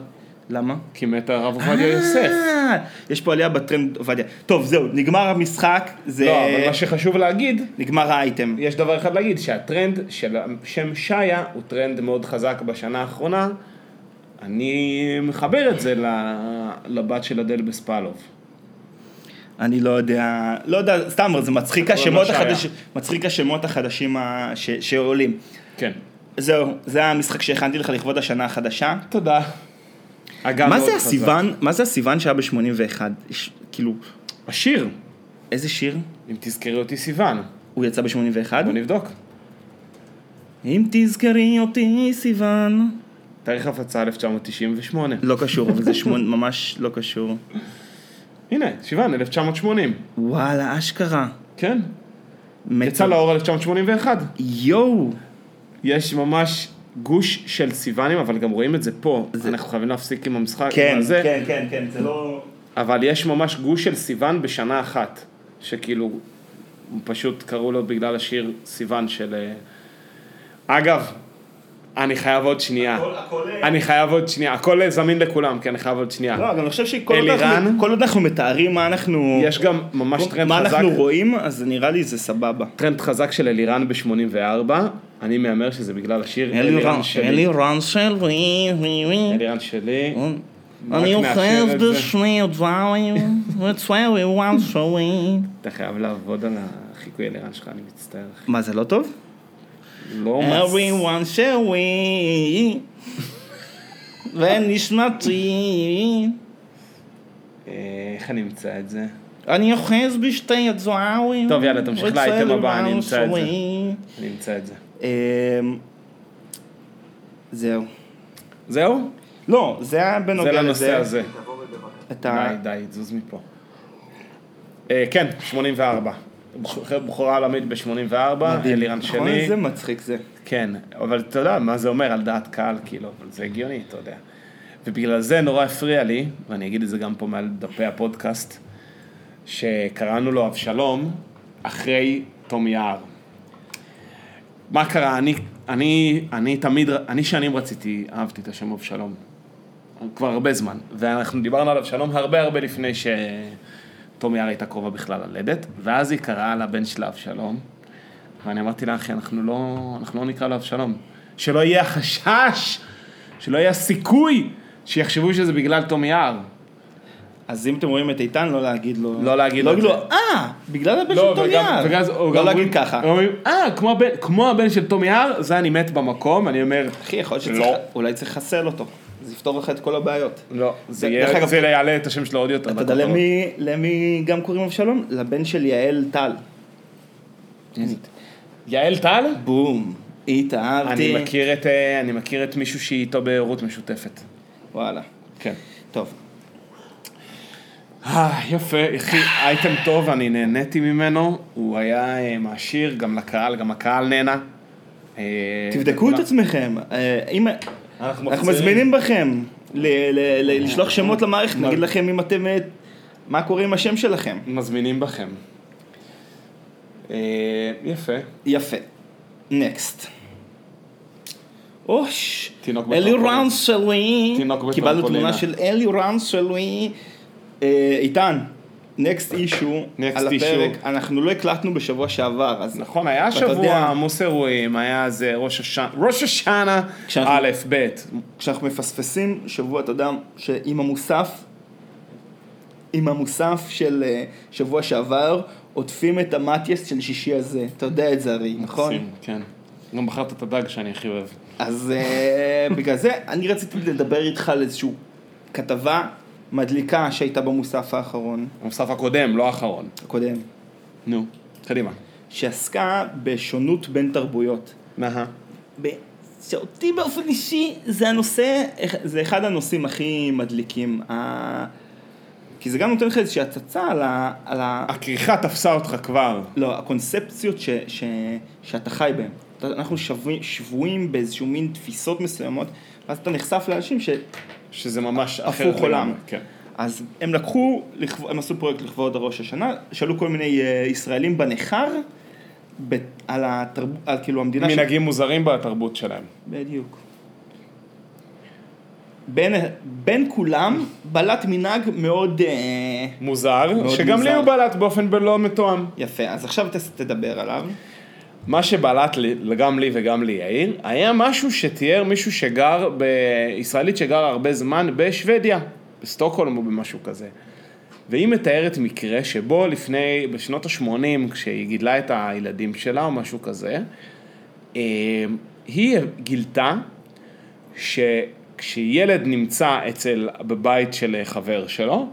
למה? כי מת הרב עובדיה יוסף. אה, יש פה עלייה בטרנד עובדיה. טוב, זהו, נגמר המשחק, זה... לא, אבל מה שחשוב להגיד, נגמר האייטם. יש דבר אחד להגיד, שהטרנד של השם שיה הוא טרנד מאוד חזק בשנה האחרונה. אני מחבר את זה ל- לבת של אדל בספלוב. אני לא יודע, לא יודע, סתם, זה לא מצחיק השמות שהיה. החדשים, מצחיק השמות החדשים ה- ש- שעולים. כן. זהו, זה המשחק שהכנתי לך לכבוד השנה החדשה. תודה. אגב, מה מאוד זה חזק. הסיוון, מה זה הסיוון שהיה ב-81? יש- כאילו, השיר, איזה שיר? אם תזכרי אותי סיוון. הוא יצא ב-81? בוא נבדוק. אם תזכרי אותי סיוון. תאריך הפצה 1998. לא קשור, אבל זה שמון, ממש לא קשור. הנה, סיוון, 1980. וואלה, אשכרה. כן. מת- יצא לאור 1981. יואו. יש ממש גוש של סיוונים, אבל גם רואים את זה פה. אנחנו חייבים להפסיק עם המשחק. כן, עם הזה. כן, כן, כן, זה לא... אבל יש ממש גוש של סיוון בשנה אחת, שכאילו, פשוט קראו לו בגלל השיר סיוון של... אה, אגב, אני חייב עוד שנייה. הכל- הכל, אה, אני חייב עוד שנייה. הכל זמין לכולם, כי אני חייב עוד שנייה. לא, גם אני חושב שכל עוד אלירן? אנחנו- כל עוד אנחנו מתארים מה אנחנו... יש גם ממש טרנד מה חזק, אנחנו רואים, אז נראה לי זה סבבה. טרנד חזק של אלירן ב-84, אני מהמר שזה בגלל השיר אלירן שלי. אלירן אה? של ווי ווי ווי. אלירן שלי. אני רק נאשר אוחז את זה. בשני דברים, וצווי וואן שווי. אתה חייב לעבוד על החיקוי אלירן שלך, אני מצטער. אחי. מה, זה לא טוב? לא אה, מצ... everyone shall [LAUGHS] we ונשמתי אה, איך אני אמצא את זה? אני אוחז בשתי הזוהרים טוב, יאללה, תמשיך לאייטם הבא, אני אמצא את זה. זה אני אמצא את זה. זהו זהו? לא, זה היה זה בנוגע לנושא הזה. די, אתה די, תזוז מפה. אה, כן, 84. בחור- בחורה עולמית ב-84, אלירן נכון, שלי. איזה מצחיק זה כן, אבל אתה יודע מה זה אומר על דעת קהל, כאילו, אבל זה הגיוני, אתה יודע. ובגלל זה נורא הפריע לי, ואני אגיד את זה גם פה מעל דפי הפודקאסט, שקראנו לו אבשלום אחרי תום יער. מה קרה? אני, אני, אני תמיד, אני שנים רציתי, אהבתי את השם אבשלום. כבר הרבה זמן. ואנחנו דיברנו על אבשלום הרבה הרבה לפני שתום יער הייתה קרובה בכלל ללדת, ואז היא קראה לבן שלה אבשלום, ואני אמרתי לה, אחי, אנחנו לא, אנחנו לא נקרא לו אבשלום. שלא יהיה החשש, שלא יהיה הסיכוי שיחשבו שזה בגלל תום יער. אז אם אתם רואים את איתן, לא להגיד לו לא להגיד לו את להגיד זה. לו, אה, בגלל הבן לא, של טוב וגם- יער וגם- או גם לא אומרים- להגיד ככה הם אומרים, אה, כמו הבן- כמו הבן של תום יער, זה אני מת במקום, אני אומר, אחי, יכול להיות לא. שצריך, אולי צריך לחסל אותו זה יפתור לך את כל הבעיות לא, זה דרך אגב- יהיה- זה יעלה את השם שלו עוד אתה יותר. יודע בכותרות." למי, למי גם קוראים אבשלום? לבן של יעל טל. יעל טל? בום, התאהבתי. אני מכיר את, אה, אני מכיר את מישהו שהיא איתו בהורות משותפת. וואלה. כן. טוב. אה, יפה, אחי, אייטם טוב, אני נהניתי ממנו, הוא היה אה, מעשיר, גם לקהל, גם הקהל נהנה. אה, תבדקו את וכולם- עצמכם. אה, אם... אנחנו אנחנו מחזירים. מזמינים בכם ל- ל- ל- לשלוח שמות למערכת, נגיד לכם אם אתם... אה, מה קורה עם השם שלכם. מזמינים בכם. אה, יפה. יפה. נקסט. אוש, תינוק אלי בטרמפולינה. רנסלוי, תינוק קיבלנו בטרמפולינה. תמונה של אלי רנסלוי, אה, איתן, נקסט אישו, Next על issue. הפרק, אנחנו לא הקלטנו בשבוע שעבר, אז נכון, היה אתה יודע. שבוע עמוס אירועים, אה, היה זה ראש השנה, ראש השנה, כשאנחנו- א', ב', כשאנחנו מפספסים שבוע, אתה יודע, שעם המוסף, עם המוסף של אה, שבוע שעבר, עוטפים את המטיאס של שישי הזה, אתה יודע את זה הרי, נכון? מקסים, כן. גם בחרת את הדג שאני הכי אוהב. אז אה, [LAUGHS] בגלל זה אני רציתי לדבר איתך על איזושהי כתבה מדליקה שהייתה במוסף האחרון, המוסף הקודם, לא האחרון. הקודם, נו, קדימה. שעסקה בשונות בין תרבויות. נהה. ב- שאותי באופן אישי זה הנושא, זה אחד הנושאים הכי מדליקים. ה... כי זה גם נותן לך איזושהי הצצה על ה... על ה... הכריכה תפסה אותך כבר. לא, הקונספציות ש... ש... שאתה חי בהן. אתה- אנחנו שבוי- שבויים באיזשהו מין תפיסות מסוימות, ואז אתה נחשף לאנשים ש... שזה ממש אחרת. הפוך עולם. לגמרי, כן. אז הם לקחו, לכב- הם עשו פרויקט לכבוד ראש השנה, שאלו כל מיני אה, ישראלים בניכר, ב- על התרבות, על כאילו המדינה... ש- מנהגים מוזרים בתרבות שלהם. בדיוק. בין, בין כולם בלט מנהג מאוד אה, מוזר, מאוד שגם לי מוזר. הוא בלט באופן לא מתואם. יפה, אז עכשיו ת, תדבר עליו. מה שבלט לי, גם לי וגם ליאיר, היה משהו שתיאר מישהו שגר, ב... ישראלית שגרה הרבה זמן בשוודיה, בסטוקהולם או במשהו כזה. והיא מתארת מקרה שבו לפני, בשנות ה-80, כשהיא גידלה את הילדים שלה או משהו כזה, אה, היא גילתה שכשילד נמצא אצל, בבית של חבר שלו,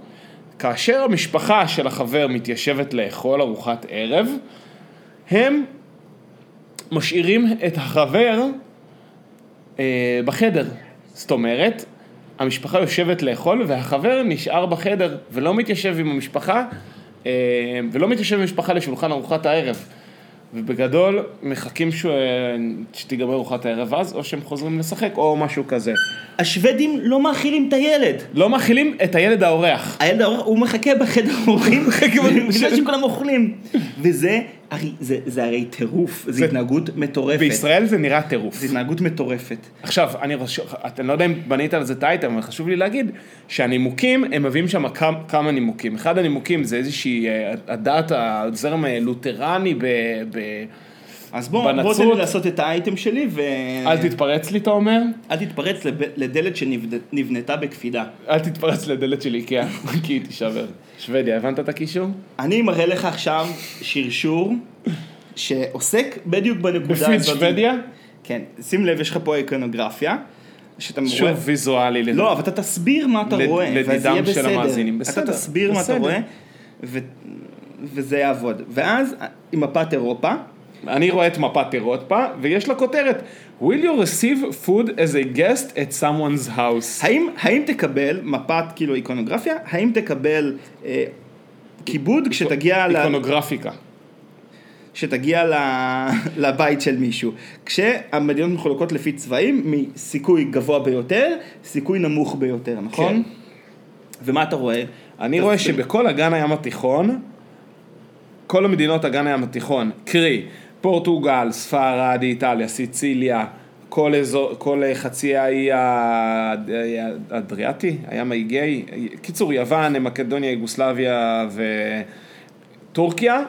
כאשר המשפחה של החבר מתיישבת לאכול ארוחת ערב, הם משאירים את החבר אה, בחדר. זאת אומרת, המשפחה יושבת לאכול והחבר נשאר בחדר ולא מתיישב עם המשפחה, אה, ולא מתיישב עם המשפחה לשולחן ארוחת הערב. ובגדול מחכים ש... שתיגמר ארוחת הערב אז, או שהם חוזרים לשחק, או משהו כזה. השוודים לא מאכילים את הילד. לא מאכילים את הילד האורח. הילד האורח, הוא מחכה בחדר [LAUGHS] האורחים, בגלל שכולם אוכלים. וזה הרי, זה, זה הרי טירוף, זו התנהגות מטורפת. בישראל זה נראה טירוף. זו התנהגות מטורפת. עכשיו, אני חושב, אני לא יודע אם בנית על זה את האייטם, אבל חשוב לי להגיד שהנימוקים, הם מביאים שם כמה, כמה נימוקים. אחד הנימוקים זה איזושהי אה, הדת, הזרם הלותרני ב... ב... אז בואו בוא תן לי בנצרות. לעשות את האייטם שלי ו... אל אה. תתפרץ לי, אתה אומר? אל תתפרץ לב- לדלת שנבנתה בקפידה. אל תתפרץ לדלת של איקאה, [LAUGHS] כי היא תישבר. שוודיה, הבנת את הקישור? אני מראה לך עכשיו שרשור שעוסק בדיוק בנקודה הזאת. בפיד שוודיה? כן. שים לב, יש לך פה איקונוגרפיה. שאתה שוב רואה... ויזואלי לזה. לא, אבל אתה תסביר מה אתה לד- רואה. ואז לדידם יהיה של בסדר. המאזינים. בסדר, אתה תסביר מה אתה בסדר. רואה, ו- וזה יעבוד. ואז עם מפת אירופה, אני רואה את מפת אירופה, ויש לה כותרת: will you receive food as a guest at someone's house. האם, האם תקבל מפת כאילו איקונוגרפיה, האם תקבל אה, כיבוד כשתגיע, ל, איקונוגרפיקה. כשתגיע ל, לבית של מישהו. כשהמדינות מחולקות לפי צבעים, מסיכוי גבוה ביותר, סיכוי נמוך ביותר, נכון? כן. ומה אתה רואה? אני רואה שבכל אגן הים התיכון, כל המדינות אגן הים התיכון, קרי, פורטוגל, ספרד, איטליה, סיציליה, כל, אזור, כל אה, חצי האי ה- האדריאטי, הים האיגאי, קיצור, יוון, מקדוניה, יוגוסלביה וטורקיה,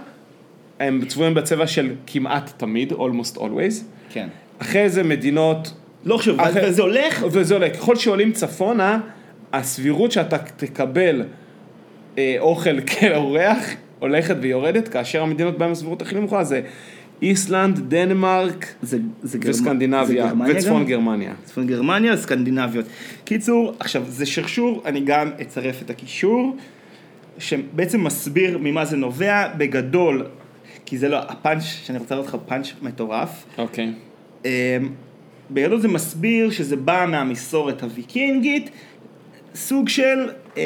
הם צבועים בצבע של כמעט תמיד, almost always. כן. אחרי זה מדינות לא חשוב, ואז- אחרי- וזה הולך, וזה עולה. ככל שעולים צפונה, הסבירות שאתה תקבל אה, אוכל [LAUGHS] כאורח הולכת ויורדת, כאשר המדינות בהן הסבירות הכי נמוכה זה איסלנד, דנמרק זה, זה גרמ- זה וסקנדינביה, גרמניה וצפון גם? גרמניה. צפון גרמניה, סקנדינביות. קיצור, עכשיו זה שרשור, אני גם אצרף את הקישור, שבעצם מסביר ממה זה נובע, בגדול, כי זה לא, הפאנץ', שאני רוצה לראות לך פאנץ' מטורף. אוקיי. אמ, בגדול זה מסביר שזה בא מהמסורת הוויקינגית, סוג של... אמ,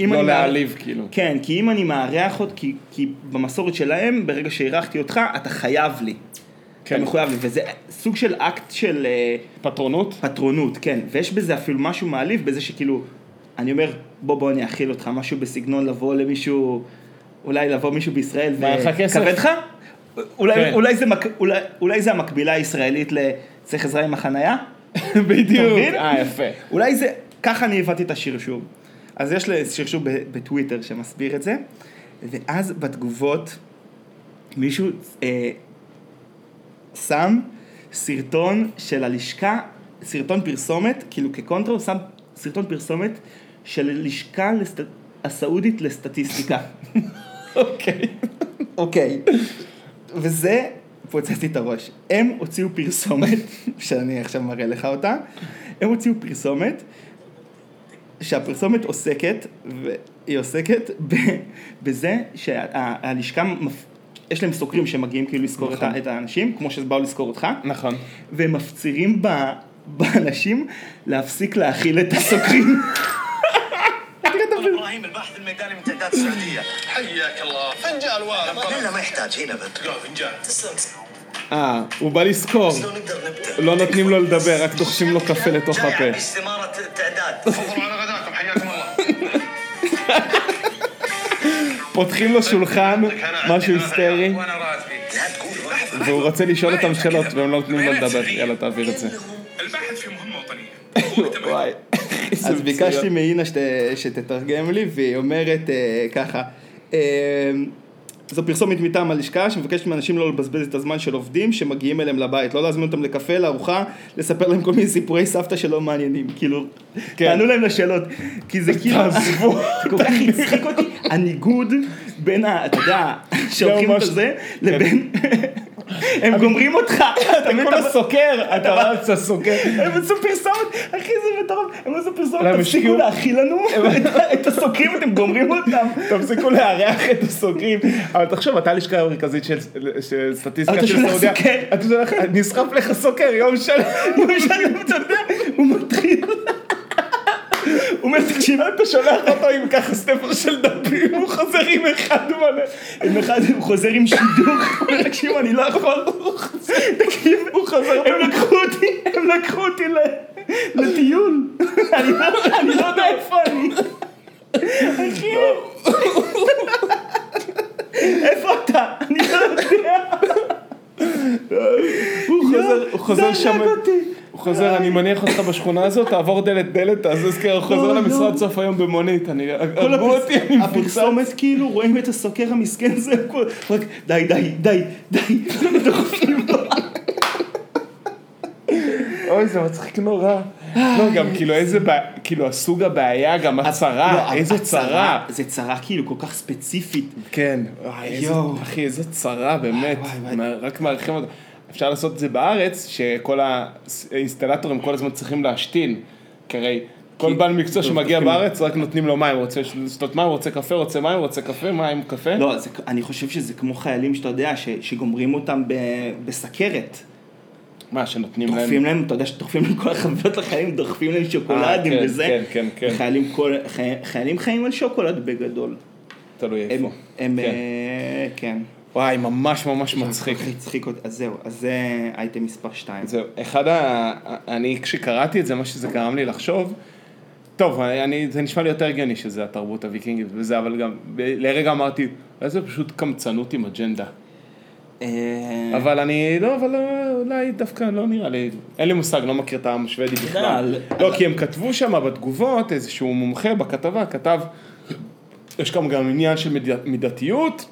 אם לא אני מער- להעליב, כאילו. כן, כי אם אני מארח אותך, כי, כי במסורת שלהם, ברגע שאירחתי אותך, אתה חייב לי. כן. אתה מחויב לי, וזה סוג של אקט של... אה, פטרונות? פטרונות, כן, ויש בזה אפילו משהו מעליב, בזה שכאילו, אני אומר, בוא בוא אני אאכיל אותך, משהו בסגנון לבוא למישהו, אולי לבוא מישהו בישראל, מה, אין לך כסף? כבד לך? אולי, כן. אולי, זה מק... אולי, אולי זה המקבילה הישראלית ל... צריך עזרה עם החנייה? אתה [LAUGHS] בדיוק. מבין? אה, יפה. אולי זה, ככה אני הבנתי את השרשור. אז יש לי שרשור ב- בטוויטר שמסביר את זה, ואז בתגובות מישהו אה, שם סרטון של הלשכה, סרטון פרסומת, כאילו כקונטרה, הוא שם סרטון פרסומת של הלשכה לסט... הסעודית לסטטיסטיקה. [LAUGHS] אוקיי. אוקיי. וזה, פוצצתי את הראש. הם הוציאו פרסומת, [LAUGHS] שאני עכשיו מראה לך אותה, הם הוציאו פרסומת, שהפרסומת עוסקת, והיא עוסקת ב, בזה שהלשכה, יש להם סוקרים שמגיעים כאילו לסקור את, נכון. ה- את האנשים, כמו שבאו לסקור אותך, נכון. והם מפצירים ב, באנשים להפסיק להאכיל את הסוקרים. طلب ابراهيم الباحث الميداني من تعداد السعوديه حياك الله فنجان وارد لا لا ما يحتاج هنا بنت فنجان تسلم אה, הוא בא לזכור. بس لو نقدر نبدا לא נותנים לו לדבר, רק דוחשים לו קפה לתוך جائعة הפה. باستمارة التعداد فضلوا على غداكم حياكم الله פותחים לו שולחן, משהו היסטרי, وانا راتبي لا تقول لحظة והוא רוצה לשאול אותם שאלות, והם לא נותנים לו לדבר. יאללה, תעביר את זה. البحث في مهمة وطنية וואי. איזה אז ביקשתי מצוין. מאינה שת, שתתרגם לי, והיא אומרת אה, ככה, אה, זו פרסומת מטעם הלשכה שמבקשת מאנשים לא לבזבז את הזמן של עובדים שמגיעים אליהם לבית, לא להזמין אותם לקפה, לארוחה, לספר להם כל מיני סיפורי סבתא שלא מעניינים, כאילו, כן. תענו להם לשאלות, כי זה כאילו, תעזבו. כל כך הצחיק אותי, הניגוד בין ה... אתה יודע, שולחים את לא, ממש- כן. זה, לבין, הם גומרים אותך, אתה מבין? כל אתה- הסוקר, אתה רץ, הסוקר. הם עשו פרסומת, אחי זה מטורף, הם עשו פרסומת, הם תפסיקו השקיעו- להאכיל לנו [LAUGHS] את- את הסוקרים, אתם גומרים [LAUGHS] אותם. תפסיקו לארח את הסוקרים. אבל תחשוב, אתה הלשכה המרכזית של של סטטיסטיקה אתה של שולח סעודיה. סוקר. אתה שולח, נסחף לך סוקר יום שלם. הוא משנה, אתה יודע, הוא מתחיל. [LAUGHS] הוא אומר, תקשיב, אתה שולח אותו עם ככה ספר של דפים, הוא חוזר עם אחד מלא. הם אחד, הוא חוזר עם שידוך, [LAUGHS] הוא אומר, תקשיב, אני לא [LAUGHS] יכול, תקשיב, הוא חוזר, הם לקחו אותי, הם לקחו אותי ל- לטיול, אני לא- אני לא יודע איפה אני. אחי, איפה אתה? אני לא יודע. הוא חוזר, הוא זה חוזר שם, הרג אותי. הוא חוזר, אני מניח אותך בשכונה הזאת, תעבור דלת דלת, תעזז קרח, חוזר לא. למשרד סוף היום במונית, אני, כל הרגו הפרס- אותי, אני מפוצץ. הפרסומת כאילו רואים את הסוקר המסכן זה הכל, רק די די די די דוחפים לו. אוי, זה מצחיק נורא. לא, גם כאילו איזה, בע- כאילו הסוג הבעיה, גם הצרה, לא, אה, איזה הצרה, צרה. זה צרה כאילו כל כך ספציפית. כן, וואי, איזה- יואו. אחי, איזו צרה, באמת. וואי, וואי. מה- רק מארחים אותה. אפשר לעשות את זה בארץ, שכל האינסטלטורים כל הזמן צריכים להשתין. כי הרי כל בעל מקצוע שמגיע בארץ, רק נותנים לו מים. רוצה לשתות מים, רוצה קפה, רוצה מים, רוצה קפה, מים, קפה. לא, זה, אני חושב שזה כמו חיילים שאתה יודע, ש, שגומרים אותם ב, בסכרת. מה, שנותנים להם... דוחפים להם, אתה יודע שדוחפים להם כל החבילות לחיילים, דוחפים להם שוקולדים אה, כן, וזה. כן, כן, כן. חיילים, כל, חי, חיילים חיים על שוקולד בגדול. תלוי הם, איפה. הם, כן. אה, כן. וואי, ממש ממש מצחיק. אחי, הצחיק אותי, אז זהו, אז זה אייטם מספר 2. זהו, אחד ה... אני, כשקראתי את זה, מה שזה גרם לי לחשוב, טוב, אני, זה נשמע לי יותר הגיוני שזה התרבות הוויקינגית וזה, אבל גם ב- לרגע אמרתי, אולי זה פשוט קמצנות עם אג'נדה. אה. אבל אני, לא, אבל אה, אולי דווקא לא נראה לי, אין לי מושג, לא מכיר את העם השוודי בכלל. לא, כי הם כתבו שם בתגובות, איזשהו מומחה בכתבה כתב, יש כאן גם עניין של מיד- מידתיות.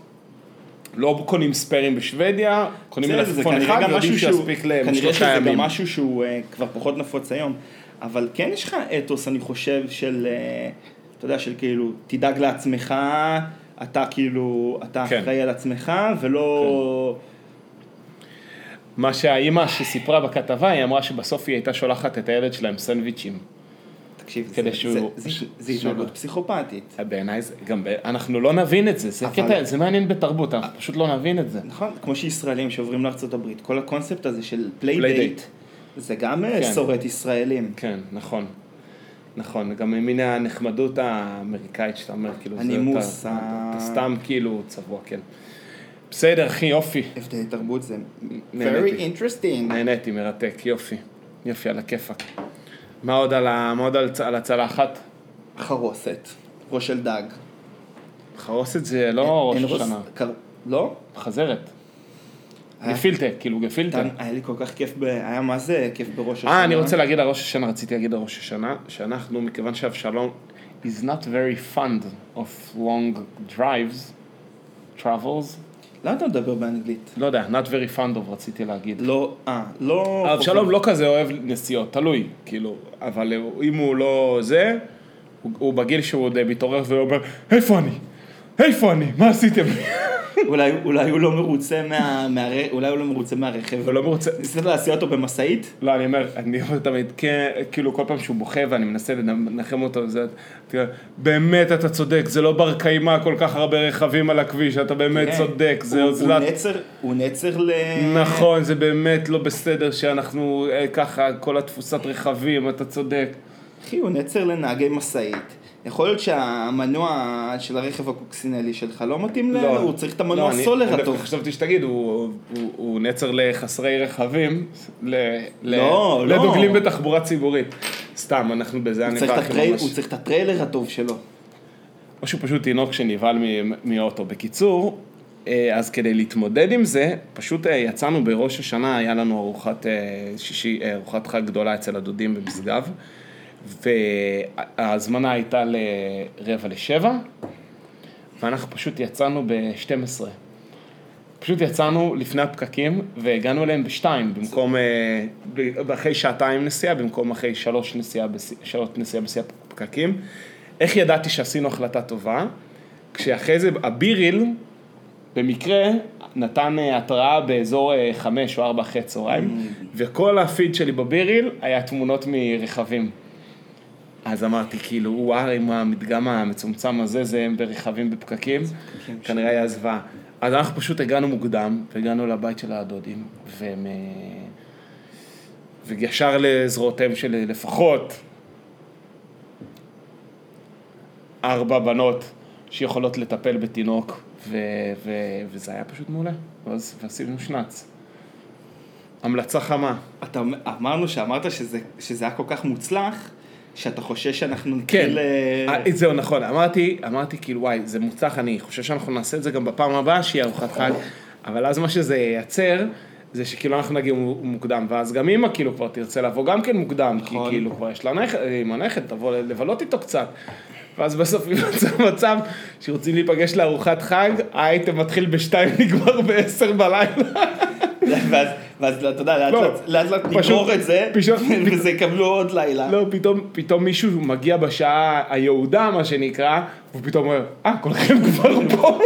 לא קונים ספיירים בשוודיה, קונים בסדר, זה מלפפון כנראה אחד, גם יודעים משהו שהוא, שיספיק להם כנראה שלושה שזה גם ימים. משהו שהוא אה, כבר פחות נפוץ היום, אבל כן יש לך אתוס, אני חושב, של, אה, אתה יודע, של כאילו, תדאג לעצמך, אתה כאילו, אתה כן. אחראי על עצמך, ולא... מה שהאימא שסיפרה בכתבה, היא אמרה שבסוף היא הייתה שולחת את הילד שלהם סנדוויצ'ים. תקשיב, זה- כדי שהוא- זה- זה- זה שהוא- התנהגות פסיכופתית. בעיניי זה גם, ב- אנחנו לא נבין את זה, זה אבל- קטע, זה מעניין בתרבות, אנחנו פשוט לא נבין את זה. נכון, כמו שישראלים שעוברים לארצות הברית, כל הקונספט הזה של פליידייט, פליידייט. זה גם אה, כן. שורט ישראלים. כן, נכון. נכון, גם מן הנחמדות האמריקאית שאתה אומר, כאילו, זה- הנימוס, אתה- ה- אתה סתם כאילו צבוע, כן. בסדר, אחי, יופי. הבדלי תרבות זה very נהניתי. interesting. נהניתי, מרתק, יופי. יופי, על הכיפאק. מה עוד על ה- מה עוד על צ- על הצלחת? חרוסת, ראש של דג. חרוסת זה לא אין ראש ראש- השנה, קר- לא? חזרת. אה? גפילטה, כאילו גפילטה. איתן, היה לי כל כך כיף, ב... היה מה זה כיף בראש השנה. אה, אני רוצה להגיד על ראש השנה, רציתי להגיד על ראש השנה, שאנחנו, מכיוון שאבשלום is not very fond of long drives, travels, למה אתה מדבר באנגלית? לא יודע, not very fond of רציתי להגיד. לא, אה, לא... אבשלום לא כזה אוהב נסיעות, תלוי, כאילו, אבל אם הוא לא זה, הוא- הוא בגיל שהוא עוד אה, מתעורר ואומר, איפה אני? איפה אני? מה עשיתם? [LAUGHS] אולי, אולי הוא לא מרוצה מה... מהר... אולי הוא לא מרוצה מהרכב. ולא מרוצה, ניסית להסיע אותו במשאית? לא, אני אומר, אני אומר תמיד, כן, כאילו כל פעם שהוא בוכה ואני מנסה לנחם אותו, זה, תראה, באמת אתה צודק, זה לא בר קיימא, כל כך הרבה רכבים על הכביש, אתה באמת כן. צודק, זה הוא- אוזלת... הוא נצר, הוא נצר ל... נכון, זה באמת לא בסדר שאנחנו אה, ככה, כל התפוסת רכבים, אתה צודק. אחי, הוא נצר לנהגי משאית. יכול להיות שהמנוע של הרכב הקוקסינלי שלך לא מתאים ל... הוא צריך את המנוע לא, אני- סולר אני הטוב. דווקא חשבתי שתגיד, הוא- הוא- הוא נצר לחסרי רכבים, ל- ל- לא, לא. לדוגלים בתחבורה ציבורית. סתם, אנחנו בזה הוא צריך הנקרא את הטרי- הכי ממש. הוא צריך את הטריילר הטוב שלו. או שהוא פשוט תינוק שנבהל מ- מאוטו. בקיצור, אה, אז כדי להתמודד עם זה, פשוט אה, יצאנו בראש השנה, היה לנו ארוחת, אה, שישי, אה, ארוחת חג גדולה אצל הדודים במשגב, וההזמנה הייתה לרבע לשבע, ואנחנו פשוט יצאנו ב-12. פשוט יצאנו לפני הפקקים והגענו אליהם בשתיים, במקום, אה, ב- אחרי שעתיים נסיעה, במקום אחרי שלוש נסיעה, בס- שעות נסיעה בשיא הפקקים. איך ידעתי שעשינו החלטה טובה? כשאחרי זה הביריל, במקרה, נתן אה, התראה באזור אה, חמש או ארבע אחרי צהריים, וכל הפיד שלי בביריל היה תמונות מרכבים. אז אמרתי, כאילו, וואו, עם המדגם המצומצם הזה, זה ברכבים בפקקים, כנראה היה זוועה. אז אנחנו פשוט הגענו מוקדם, והגענו לבית של הדודים, והם... אה, וישר לזרועותיהם של אה, לפחות ארבע בנות שיכולות לטפל בתינוק, ו... ו... וזה היה פשוט מעולה. ואז ועשינו שנץ. המלצה חמה. אתה, אומר- אמרנו שאמרת שזה, שזה היה כל כך מוצלח, שאתה חושש שאנחנו כן, נתחיל... אה, אה, זהו נכון, אמרתי, אמרתי כאילו וואי, זה מוצלח, אני חושב שאנחנו נעשה את זה גם בפעם הבאה שיהיה ארוחת חג, אבל אז מה שזה ייצר, זה שכאילו אנחנו נגיע מו- מוקדם, ואז גם אימא כאילו כבר תרצה לבוא גם כן מוקדם, כי נכון. כאילו כבר יש לה נכד, עם הנכד, תבוא ל- לבלות איתו קצת. ואז בסוף נמצא מצב שרוצים להיפגש לארוחת חג, האייטם מתחיל בשתיים, נגמר בעשר בלילה. [LAUGHS] ואז, ואז אתה יודע, לאט לא. לאט- לאט לאט פשוט- נגמור את זה, פשוט- [LAUGHS] וזה יקבלו עוד לילה. לא, פתאום, פתאום מישהו מגיע בשעה היהודה, מה שנקרא, ופתאום אומר, אה, כולכם כבר [LAUGHS] פה.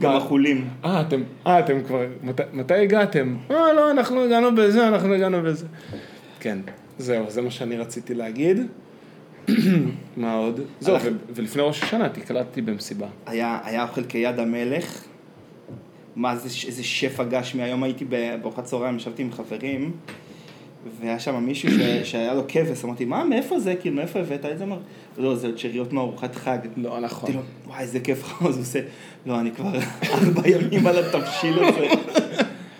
גם החולים. אה, אתם, אה, אתם כבר, מת, מתי הגעתם? אה, לא, אנחנו הגענו בזה, אנחנו הגענו בזה. כן, זהו, זה מה שאני רציתי להגיד. [CLEARS THROAT] מה עוד? זהו, ו- ולפני ראש השנה תקלטתי במסיבה. היה, היה אוכל כיד המלך. מה זה, ש- איזה שפע גשמי. היום הייתי ב- בארוחת צהריים, ישבתי עם חברים, והיה שם מישהו [COUGHS] ש, שהיה לו כבש, אמרתי, מה, מאיפה זה? כאילו, מאיפה הבאת את זה? אמר, לא, זה עוד שאריות מארוחת חג. לא, אמרתי לו, נכון. וואי, איזה כיף [LAUGHS] לך, אז הוא עושה, לא, אני כבר [LAUGHS] ארבע ימים על התבשיל [LAUGHS] הזה.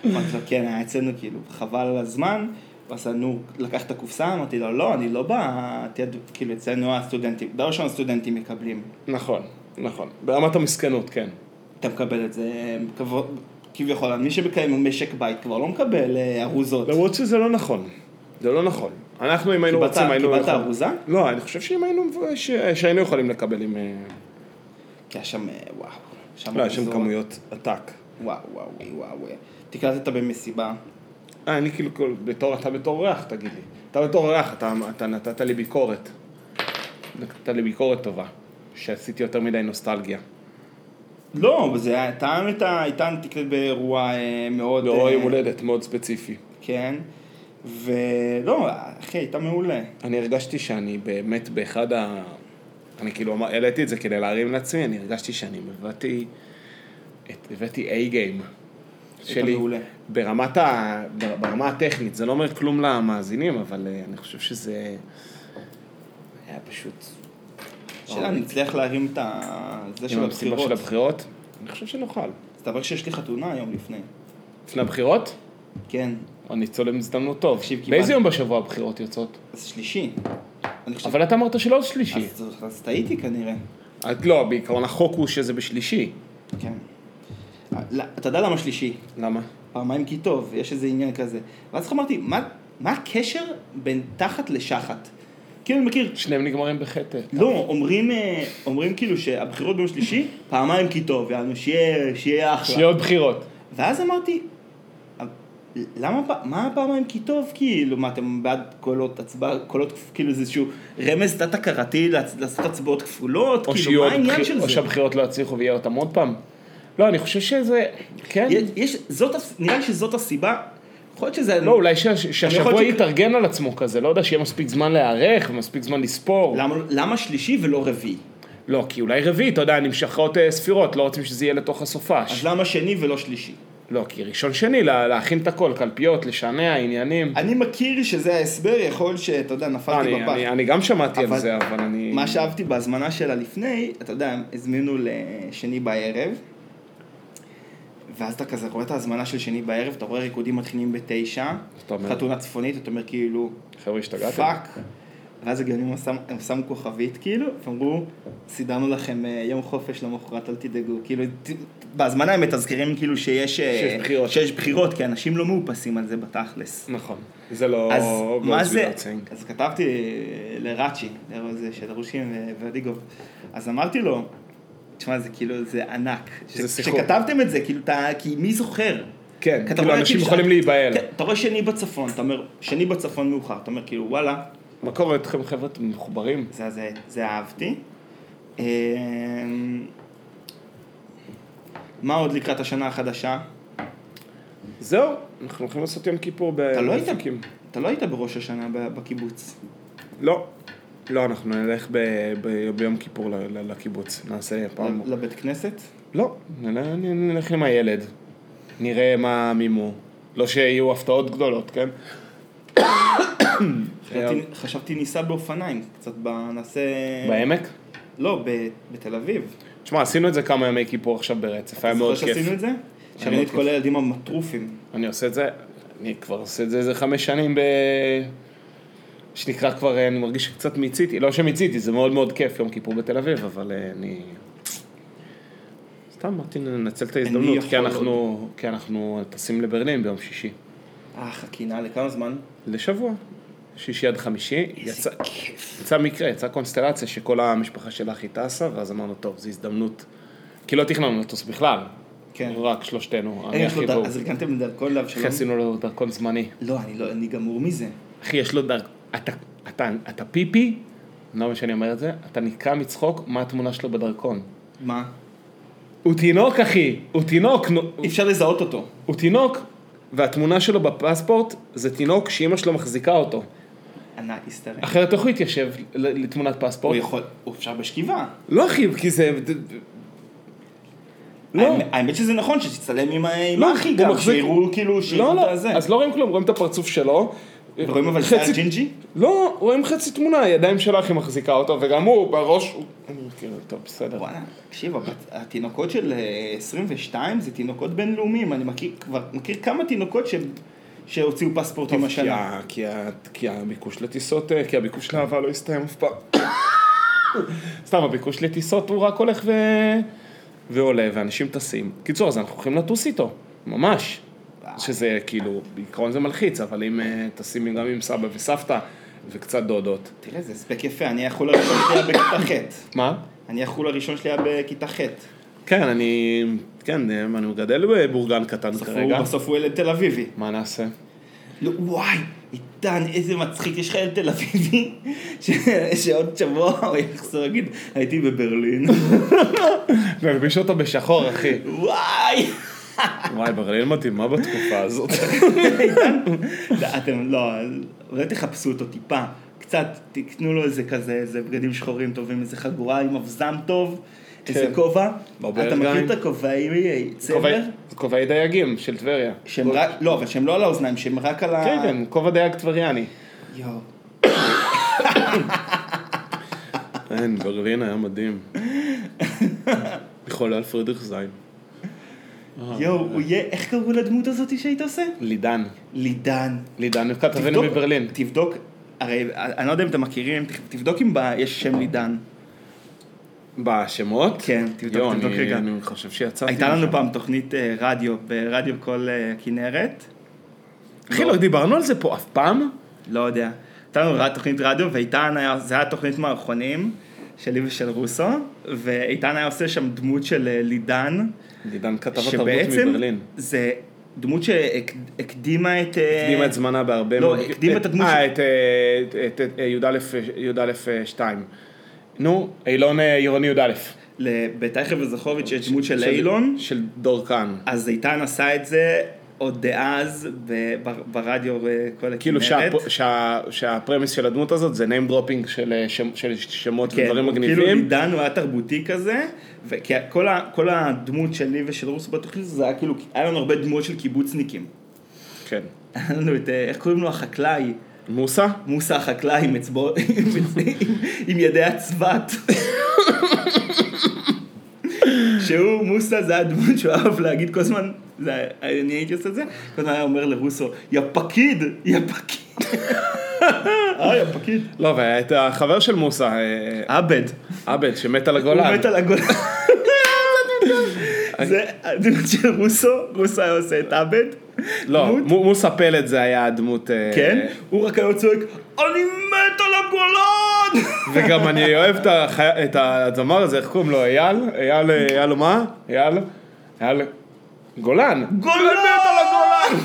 אמרתי לו, כן, היה אצלנו, כאילו, חבל על הזמן. ואז נו, לקח את הקופסה, אמרתי לו, לא, אני לא בא, תיד- כאילו, אצלנו הסטודנטים, דבר ראשון הסטודנטים מקבלים. נכון, נכון. ברמת המסכנות, כן. אתה מקבל את זה כבוד- כביכול, מי שמקיים משק בית כבר לא מקבל אה, ארוזות. למרות שזה לא נכון. זה לא נכון. אנחנו, אם היינו קיבלת- רוצים, היינו... קיבלת יכולים- ארוזה? לא, אני חושב שאם היינו... ש- שהיינו יכולים לקבל עם... אה, כי היה שם, אה, וואו. לא, יש שם ארוזות. כמויות עתק. וואו, וואו, וואו, וואו. תקלטת במסיבה. אה, אני כאילו, כל- בתור, אתה בתור אורח, תגיד לי. אתה בתור אורח, אתה, אתה נתת לי ביקורת. נתת לי ביקורת טובה, שעשיתי יותר מדי נוסטלגיה. לא, אבל זה היה, טעם הייתה, הייתה נתקלט באירוע אה, מאוד... לאור אה, יום הולדת מאוד ספציפי. כן. ולא, אחי, הייתה מעולה. אני הרגשתי שאני באמת באחד ה... אני כאילו אמר- העליתי את זה כדי להרים לעצמי, אני הרגשתי שאני הבאתי... את- הבאתי A-game שלי. מעולה. ברמת ה... בר- ברמה הטכנית, זה לא אומר כלום למאזינים, אבל אה, אני חושב שזה... היה פשוט... שאלה, אני אצליח להרים את ה... זה עם של המסיבה הבחירות. של הבחירות? אני חושב שנוכל. מסתבר שיש לי חתונה היום לפני. לפני הבחירות? כן, אני צולם הזדמנות טוב. תקשיב, קיבלתי- באיזה יום בשבוע הבחירות יוצאות? אז שלישי. אני חושב... אבל אתה אמרת שלא שלישי. אז- אז- אז טעיתי כנראה. את לא, בעיקרון החוק הוא שזה בשלישי. כן. אה, לא, אתה יודע למה שלישי? למה? פעמיים כי טוב, יש איזה עניין כזה. ואז אמרתי, מה, מה הקשר בין תחת לשחת? כאילו, אני מכיר, שניהם נגמרים בחטא. לא, אומרים, אה, אומרים כאילו שהבחירות ביום שלישי, פעמיים כי טוב, יענו, שיהיה, שיהיה אחלה. שיהיה עוד בחירות. ואז אמרתי, "אבל למה, פ- מה הפעמיים כי טוב, כאילו, מה, אתם בעד קולות הצבעה, קולות, כפ- כאילו, זה איזשהו רמז תת-הכרתי לעצ- לעשות הצבעות כפולות, או שיהיו כאילו, מה עוד העניין בחירות- של או זה? שהבחירות לא יצליחו ויהיה אותם עוד פעם. לא, אני חושב שזה... כן. יש- יש, זאת, הס- נראה לי שזאת הסיבה, יכול להיות שזה... לא, אולי שה- שהשבוע להיות ש- יתארגן על עצמו כזה, לא יודע, שיהיה מספיק זמן להיערך ומספיק זמן לספור. למה, למה שלישי ולא רביעי? לא, כי אולי רביעי, אתה יודע, נמשכות אה, ספירות, לא רוצים שזה יהיה לתוך הסופש. אז למה שני ולא שלישי? לא, כי ראשון שני, לה, להכין את הכל, קלפיות, לשנע, עניינים. אני מכיר שזה ההסבר, יכול שאתה יודע, נפלתי אני, בפח. אני, אני גם שמעתי על אבל- זה, אבל אני... מה שאהבתי בהזמנה שלה לפני, אתה יודע, הם הזמינו לשני בערב, ואז אתה כזה רואה את ההזמנה של שני בערב, אתה רואה ריקודים מתחילים בתשע, אתה אומר- חתונה צפונית, אתה אומר כאילו, חבר'ה, השתגעתם? פאק. ואז הגאונים הם שם- הם שמו כוכבית כאילו, ואמרו, סידרנו לכם אה, יום חופש למחרת, אל תדאגו. כאילו, ת- בהזמנה הם מתזכרים כאילו שיש... אה, שיש בחירות. שיש בחירות, כי אנשים לא מאופסים על זה בתכלס. נכון. זה לא... אז goes מה זה, without saying. אז כתבתי אה, לראצ'י, לארז שדרושים וורדיגוב, אז אמרתי לו, תשמע זה כאילו, זה ענק, זה ש- שיחות. שכתבתם את זה, כאילו, אתה- כי מי זוכר? כן, כי אתה כאילו, רואה אנשים ש- יכולים להיבהל. כן, אתה רואה שני בצפון, אתה אומר, שני בצפון מאוחר, אתה אומר כאילו, וואלה, מה קורה איתכם, חבר'ה? אתם מחוברים? זה, זה, זה אהבתי. אמ, מה עוד לקראת השנה החדשה? זהו, אנחנו הולכים לעשות יום כיפור ב... אתה לא היית, באפיקים. אתה לא היית בראש השנה ב- בקיבוץ. לא. לא, אנחנו נלך ב... ב... ביום כיפור ל... ל... לקיבוץ. נעשה פעם... ל- לבית כנסת? לא, נל- נ- נלך עם הילד. נראה מה מימו. לא שיהיו הפתעות גדולות, כן? חשבתי- חשבתי ניסע באופניים, קצת ב... נעשה... בעמק? לא, ב- בתל אביב. תשמע, עשינו את זה כמה ימי כיפור עכשיו ברצף, היה מאוד זוכר שעשינו כיף. את זה? שראינו את מאוד כל הילדים המטרופים. אני עושה את זה, אני כבר עושה את זה איזה חמש שנים ב... שנקרא כבר, אה, אני מרגיש שקצת מיציתי, לא שמיציתי, זה מאוד מאוד כיף, יום כיפור בתל אביב, אבל אה, אני... סתם אמרתי, ננצל את ההזדמנות, יכול כי אנחנו, כי אנחנו טסים לברלין ביום שישי. אה, חכינה, לכמה זמן? לשבוע, שישי עד חמישי, יצא, יצא מקרה, יצא קונסטלציה שכל המשפחה שלך היא טסה, ואז אמרנו, טוב, זו הזדמנות, כי לא תכננו לטוס בכלל, כן. רק שלושתנו, אין, אני יש לו הכי דר- ברור, אז ארגנתם דרכון אחי לאבשלום? עשינו לו דרכון זמני, לא, אני לא, אני גמור מזה. אחי יש לו דרכון, אתה, אתה, אתה פיפי, אני לא מבין שאני אומר את זה, אתה נקרע מצחוק, מה התמונה שלו בדרכון, מה? הוא תינוק אחי, הוא תינוק, נו, אי אפשר לזהות אותו. הוא תינוק, והתמונה שלו בפספורט זה תינוק שאימא שלו מחזיקה אותו, ענק, הסתרק. אחרת איך הוא יתיישב ל- לתמונת פספורט? הוא יכול, הוא אפשר בשכיבה. לא אחי, כי זה... לא, האמת- האמת שזה נכון שתצטלם עם ה- עם לא, האחי הוא גם, מחזיק- שיראו כאילו, לא, שיראו לא, את זה. אז לא רואים כלום, רואים את הפרצוף שלו. רואים אבל שיער ג'ינג'י? לא, רואים חצי תמונה, הידיים שלה אחי מחזיקה אותו, וגם הוא בראש... הוא- אני כאילו, טוב, בסדר. וואלה, תקשיב, הבת- התינוקות של אה, 22 זה תינוקות בינלאומיים, אני מכיר כבר, מכיר כמה תינוקות ש- שהוציאו פספורטים טוב, כי השנה. ה- כי ה- כי הביקוש לטיסות, אה, כי הביקוש לאהבה לא הסתיים אף פעם. סתם, הביקוש לטיסות הוא רק הולך ו... ועולה, ואנשים טסים. קיצור, אז אנחנו הולכים לטוס איתו, ממש. שזה כאילו, בעיקרון זה מלחיץ, אבל אם אה, טסים גם עם סבא וסבתא וקצת דודות. תראה, זה הספק יפה, אני החול הראשון שלי היה בכיתה ח'. מה? אני החול הראשון שלי היה בכיתה ח'. כן, אני... כן, אה, אני מגדל בבורגן קטן בסוף כרגע. הוא- בסוף הוא ילד תל אביבי. מה נעשה? [LAUGHS] לא, וואי, איתן, איזה מצחיק, יש לך ילד תל אביבי, [LAUGHS] ש- שעוד שבוע הוא יחזור להגיד, הייתי בברלין. [LAUGHS] נלביש אותו בשחור, אחי. וואי! וואי, ברלין מתאימה בתקופה הזאת. אתם לא, אולי תחפשו אותו טיפה, קצת, תקנו לו איזה כזה, איזה בגדים שחורים טובים, איזה חגורה עם אבזם טוב, כן. איזה כובע. בברגיים. אתה מכיר את הכובעים צמר? כובעי- זה כובעי דייגים של טבריה. שהם רק, לא, אבל שהם לא על האוזניים, שהם רק על ה... כן, כן, כובע דייג טבריאני. יואו. אין, ברלין היה מדהים. [LAUGHS] יכול היה פרידריך זין. יואו, הוא יהיה, איך קראו לדמות הזאת שהיית עושה? לידן. לידן. לידן הוא כתבנו תבדוק- מברלין. תבדוק, הרי אני לא יודע אם אתם מכירים, ת- תבדוק אם ב- יש שם לידן. בשמות? כן, תבדוק, יואו, תבדוק אני- רגע. אני חושב שיצאתי. הייתה משהו. לנו פעם תוכנית אה, רדיו, ברדיו כל אה, כנרת, אחי, לא דיברנו על זה פה אף פעם? לא יודע. הייתה לנו רד- תוכנית רדיו, ואיתן היה, זה היה תוכנית מערכונים שלי ושל רוסו, ואיתן היה עושה שם דמות של אה, לידן, לידן כתב התרבות שבעצם מברלין. זה דמות שהקדימה את... אה, הקדימה את זמנה בהרבה לא, הקדימה את הדמות אה, של- את, אה, את- את את, אה, י"א, י"א 2. נו, אילון אה, עירוני י"א. לבית אייכלב וזכוביץ' יש דמות של אילון, של דורקן. אז איתן עשה את זה, או עוד דאז ב- ב- ברדיו וכל הכנרת. כאילו שהפ- שה- שהפרמיס של הדמות הזאת זה name dropping של אה, שם- של שמות כן, ודברים הוא כאילו מגניבים. עידן הוא היה תרבותי כזה, וכי כל ה- כל הדמות שלי ושל רוסו בתוכנית זה היה כאילו, היה לנו הרבה דמויות של קיבוצניקים. כן. היה לנו את, אה, איך קוראים לו החקלאי? מוסה? מוסה החקלאי עם אצבעות, עם עם- עם ידי הצבת. שהוא, מוסה זה הדמות שהוא אהב להגיד כל הזמן, זה היה- אני הייתי עושה את זה, כל הזמן היה אומר לרוסו, יא פקיד, יא פקיד. אה, יא פקיד. לא, ואת החבר של מוסה, אה, עבד. עבד, שמת על הוא הגולן. מת על הגולן. זה הדמות של רוסו, רוסו היה עושה את עבד. לא, דמות- מו- מוסה פלד זה היה הדמות... אה, כן, הוא רק היה צועק, אני מת על הגולן! וגם אני אוהב את החי- את הזמר הזה, איך קוראים לו? אייל? אייל, אה, אייל הוא מה? אייל? אייל... גולן. גולן! לא!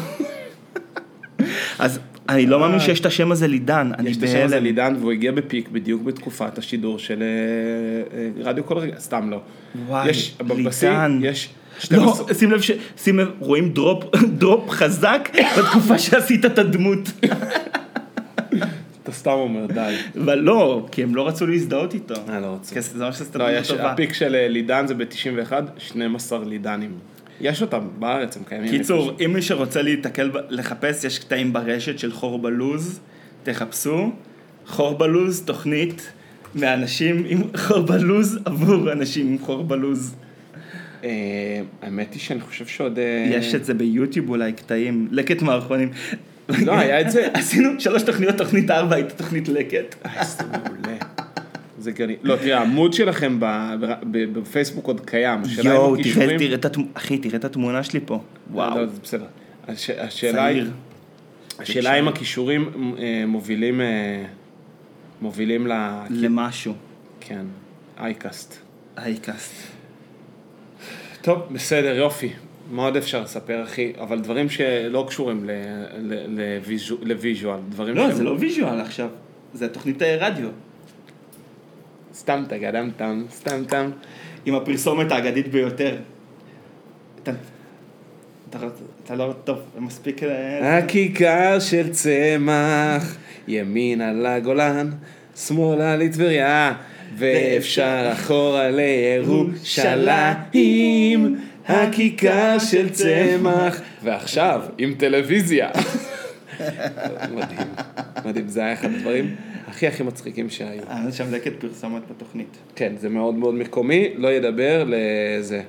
אז אני לא מאמין שיש את השם הזה לעידן, אני אה. יש את השם הזה בהלם. לידן, והוא הגיע בפיק בדיוק בתקופת השידור של אה, אה, רדיו כל רגע, סתם לא. וואי, יש, בבשיא לידן. יש... 12 לא, שים לב, ש- שים לב, רואים דרופ, [LAUGHS] דרופ חזק בתקופה שעשית את הדמות. אתה סתם אומר, די. אבל לא, כי הם לא רצו להזדהות איתו. אני לא רוצה. כי זה ממש עשית לא, דמות יש, טובה. הפיק של אה, לידן זה ב-91, 12 לידנים. יש אותם בארץ, הם קיימים. קיצור, אם מי שרוצה להיתקל, ב- לחפש, יש קטעים ברשת של חור בלוז, תחפשו. חור בלוז, תוכנית מאנשים עם חור בלוז עבור אנשים עם חור בלוז. אה, האמת היא שאני חושב שעוד... אה, יש את זה ביוטיוב אולי, קטעים, לקט מערכונים. לא, היה את זה. עשינו שלוש תוכניות, תוכנית ארבע הייתה תוכנית לקט. אה, זה מעולה. זה גני... לא, תראה, העמוד שלכם ב- ב- בפייסבוק עוד קיים. השאלה אם יואו, תראה, הכישורים- תראה את התמונה, אחי, תראה את התמונה שלי פה. וואו. לא, זה בסדר. הש- השאלה היא... צעיר. השאלה אם הכישורים אה, מובילים... אה, מובילים ל... למשהו. כן, אייקאסט. אייקאסט. טוב, בסדר, יופי. מה עוד אפשר לספר, אחי? אבל דברים שלא קשורים ל- ל- לוויז'ו- לוויז'ואל, דברים לא, שהם- זה לא ויז'ואל עכשיו, זה תוכנית רדיו. סתם תגדם תם, סתם תם. עם הפרסומת האגדית ביותר. אתה- אתה- אתה לא טוב, מספיק... אה, ל- הכיכר של צמח, ימינה לגולן, שמאלה לטבריה, ואפשר אחורה לירושלים. הכיכר של צמח. ועכשיו, עם טלוויזיה. מדהים, מדהים, זה היה אחד הדברים הכי הכי מצחיקים שהיו. היה אה, שם לקט פרסומת בתוכנית. כן, זה מאוד מאוד מקומי, לא ידבר לזה.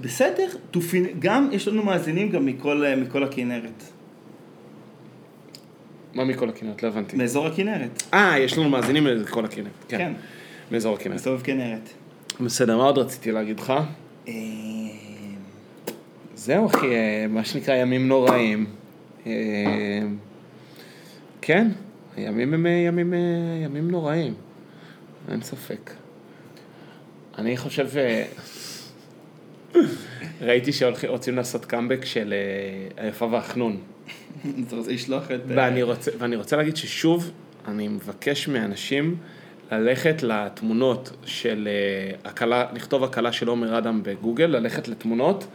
בסדר, תופינ- גם יש לנו מאזינים גם מכל אה, מכל הכנרת. מה מכל הכנרת? לא הבנתי. מאזור הכנרת, אה, יש לנו מאזינים מכל הכנרת. כן. כן. מאזור הכנרת. מסובב כנרת. בסדר, מה עוד רציתי להגיד לך? אה, זהו, אחי, אה, מה שנקרא ימים נוראים. אה, כן, הימים הם אה, ימים, אה, ימים נוראים. אין ספק. אני חושב... אה, ראיתי שרוצים לעשות קאמבק של אה, היפה והחנון. אתה רוצה לשלוח את... אה, ואני רוצה, ואני רוצה להגיד ששוב, אני מבקש מאנשים ללכת לתמונות של אה, הקלה, לכתוב הקלה של עומר אדם בגוגל, ללכת לתמונות.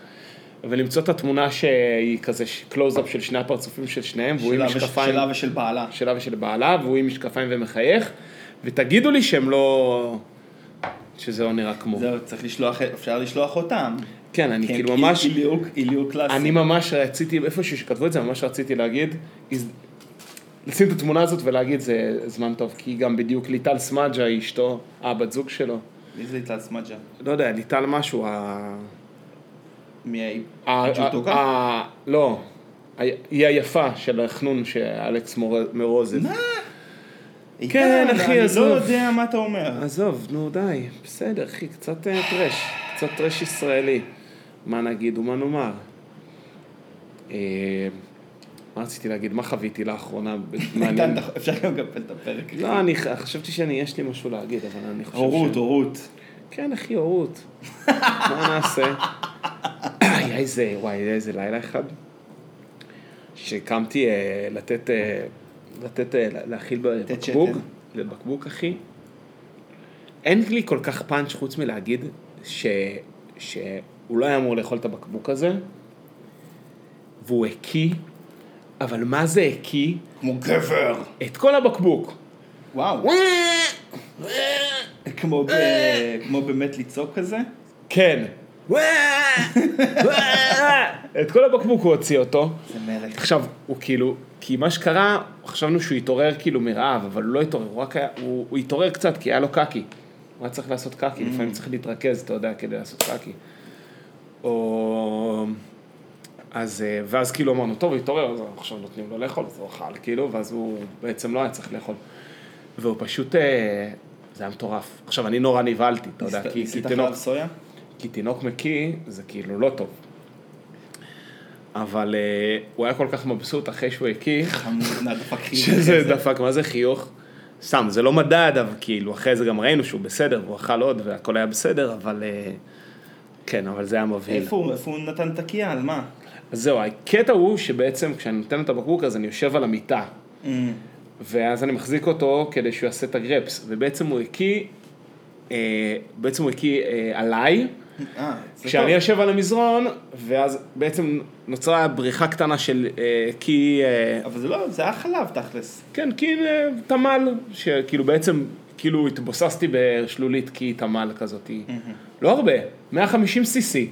ולמצוא את התמונה שהיא כזה קלוז-אפ של שני הפרצופים של שניהם, והוא עם שלה וש- משקפיים, שלה ושל בעלה. שלה ושל בעלה, והוא עם משקפיים ומחייך, ותגידו לי שהם לא... שזה לא נראה כמו. זהו, צריך לשלוח, אפשר לשלוח אותם. כן, אני כן, כאילו ממש... איליוק, איליוק קלאסי. אני ממש רציתי, איפשהו שכתבו את זה, ממש רציתי להגיד, הז- לשים את התמונה הזאת ולהגיד, זה זמן טוב, כי גם בדיוק ליטל סמדג'ה, אשתו, הבת זוג שלו, מי זה ליטל סמג'ה? לא יודע, ליטל משהו, ה... ה- מהג'וטוקה? ה- ה- לא, ה- היא היפה של החנון שאלכס מור- מרוזן. כן, אחי, אני עזוב. לא יודע מה אתה אומר. עזוב, נו די, בסדר, אחי, קצת אה, טרש, קצת טרש ישראלי. מה נגיד ומה נאמר? אה, מה רציתי להגיד? מה חוויתי [LAUGHS] לאחרונה? מעניין. איתן, אתה- אפשר גם לקבל את הפרק. לא, אני ח- חשבתי שאני, יש לי משהו להגיד, אבל אני חושב הורות, ש... הורות. כן, אחי, [LAUGHS] הורות. מה נעשה? [COUGHS] היה איזה, וואי, היה איזה לילה אחד, שקמתי אה, לתת, אה, לתת, אה, לה- להאכיל בבקבוק, שתן. בבקבוק, אחי. אין לי כל כך פאנץ' חוץ מלהגיד ש... שהוא לא היה אמור לאכול את הבקבוק הזה, והוא הקיא, אבל מה זה הקיא? כמו גבר. את כל הבקבוק. וואו. כמו ב- כמו באמת לצעוק כזה. כן. את כל הבקבוק הוא הוציא אותו. זה מלך. עכשיו, הוא כאילו, כי מה שקרה, חשבנו שהוא התעורר כאילו מרעב, אבל הוא לא התעורר, הוא, רק היה, הוא, הוא התעורר קצת, כי היה לו קקי. הוא היה צריך לעשות קקי, לפעמים צריך להתרכז, אתה יודע, כדי לעשות קקי. או... אז, אה, ואז כאילו אמרנו, טוב, הוא התעורר, אז אנחנו עכשיו נותנים לו לאכול, אז הוא אכל, כאילו, ואז הוא בעצם לא היה צריך לאכול. והוא פשוט, אה, זה היה מטורף. עכשיו, אני נורא נבהלתי, אתה יודע, ניסית- כי, כי ניסית תינוק, חלב סויה? כי תינוק מקיא זה כאילו לא טוב. אבל אה, הוא היה כל כך מבסוט אחרי שהוא הקיא, חמוד, נא, דפק חיוך. שזה דפק, מה זה חיוך? סתם, זה לא מדד, אבל כאילו, אחרי זה גם ראינו שהוא בסדר, הוא אכל עוד והכל היה בסדר, אבל... אה, כן, אבל זה היה מבהיל. איפה הוא- איפה הוא נתן את הקיאה? על מה? אז זהו, הקטע הוא שבעצם כשאני נותן את הבקבוק אז אני יושב על המיטה, ואז אני מחזיק אותו כדי שהוא יעשה את הגרפס, ובעצם הוא הקיא, אה, בעצם הוא הקיא אה, עליי, אה, זה כשאני טוב. יושב על המזרון, ואז בעצם נוצרה בריחה קטנה של אה, קי, אה, אבל זה לא, זה היה חלב תכלס. כן, קי אה, תמל, שכאילו בעצם, כאילו התבוססתי בשלולית קי תמל כזאת, לא הרבה, 150 סיסי.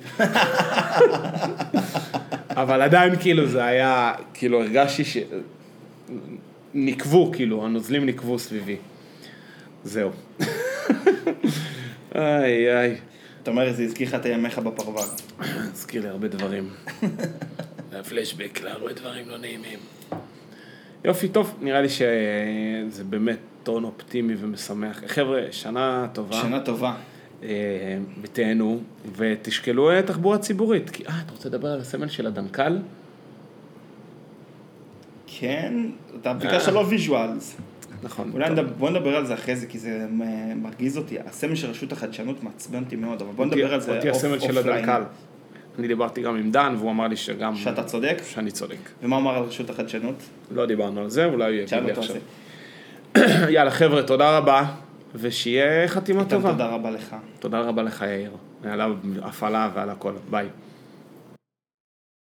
אבל עדיין כאילו זה היה, כאילו הרגשתי ש... ניקבו, כאילו, הנוזלים ניקבו סביבי. זהו. [LAUGHS] איי איי. אתה אומר, זה הזכיר לך את ימיך בפרבר. הזכיר לי הרבה דברים. [LAUGHS] זה הפלשבק להרבה דברים לא נעימים. יופי, טוב, נראה לי שזה באמת טון אופטימי ומשמח. חבר'ה, שנה טובה. שנה טובה. אה, ותהנו, ותשקלו אה, תחבורה ציבורית. כי, אה, אתה רוצה לדבר על הסמל של הדנקל? כן, אתה ביקשת לא ויז'ואלס. נכון. אולי אה. טוב. נדבר- בוא נדבר על זה אחרי זה, כי זה אה, מרגיז אותי. הסמל של רשות החדשנות מעצבן אותי מאוד, אבל בוא נדבר על זה אותי אוף- הסמל של אופליין. הדנקל. אני דיברתי גם עם דן, והוא אמר לי שגם... שאתה צודק, שאני צודק. ומה אמר על רשות החדשנות? לא דיברנו על זה, אולי הוא יגיד שאלנו לי אותו על עכשיו. זה. יאללה, חבר'ה, תודה רבה, ושיהיה חתימה איתן, טובה. תודה רבה לך. תודה רבה לך, יאיר. על ההפעלה ועל הכל. ביי.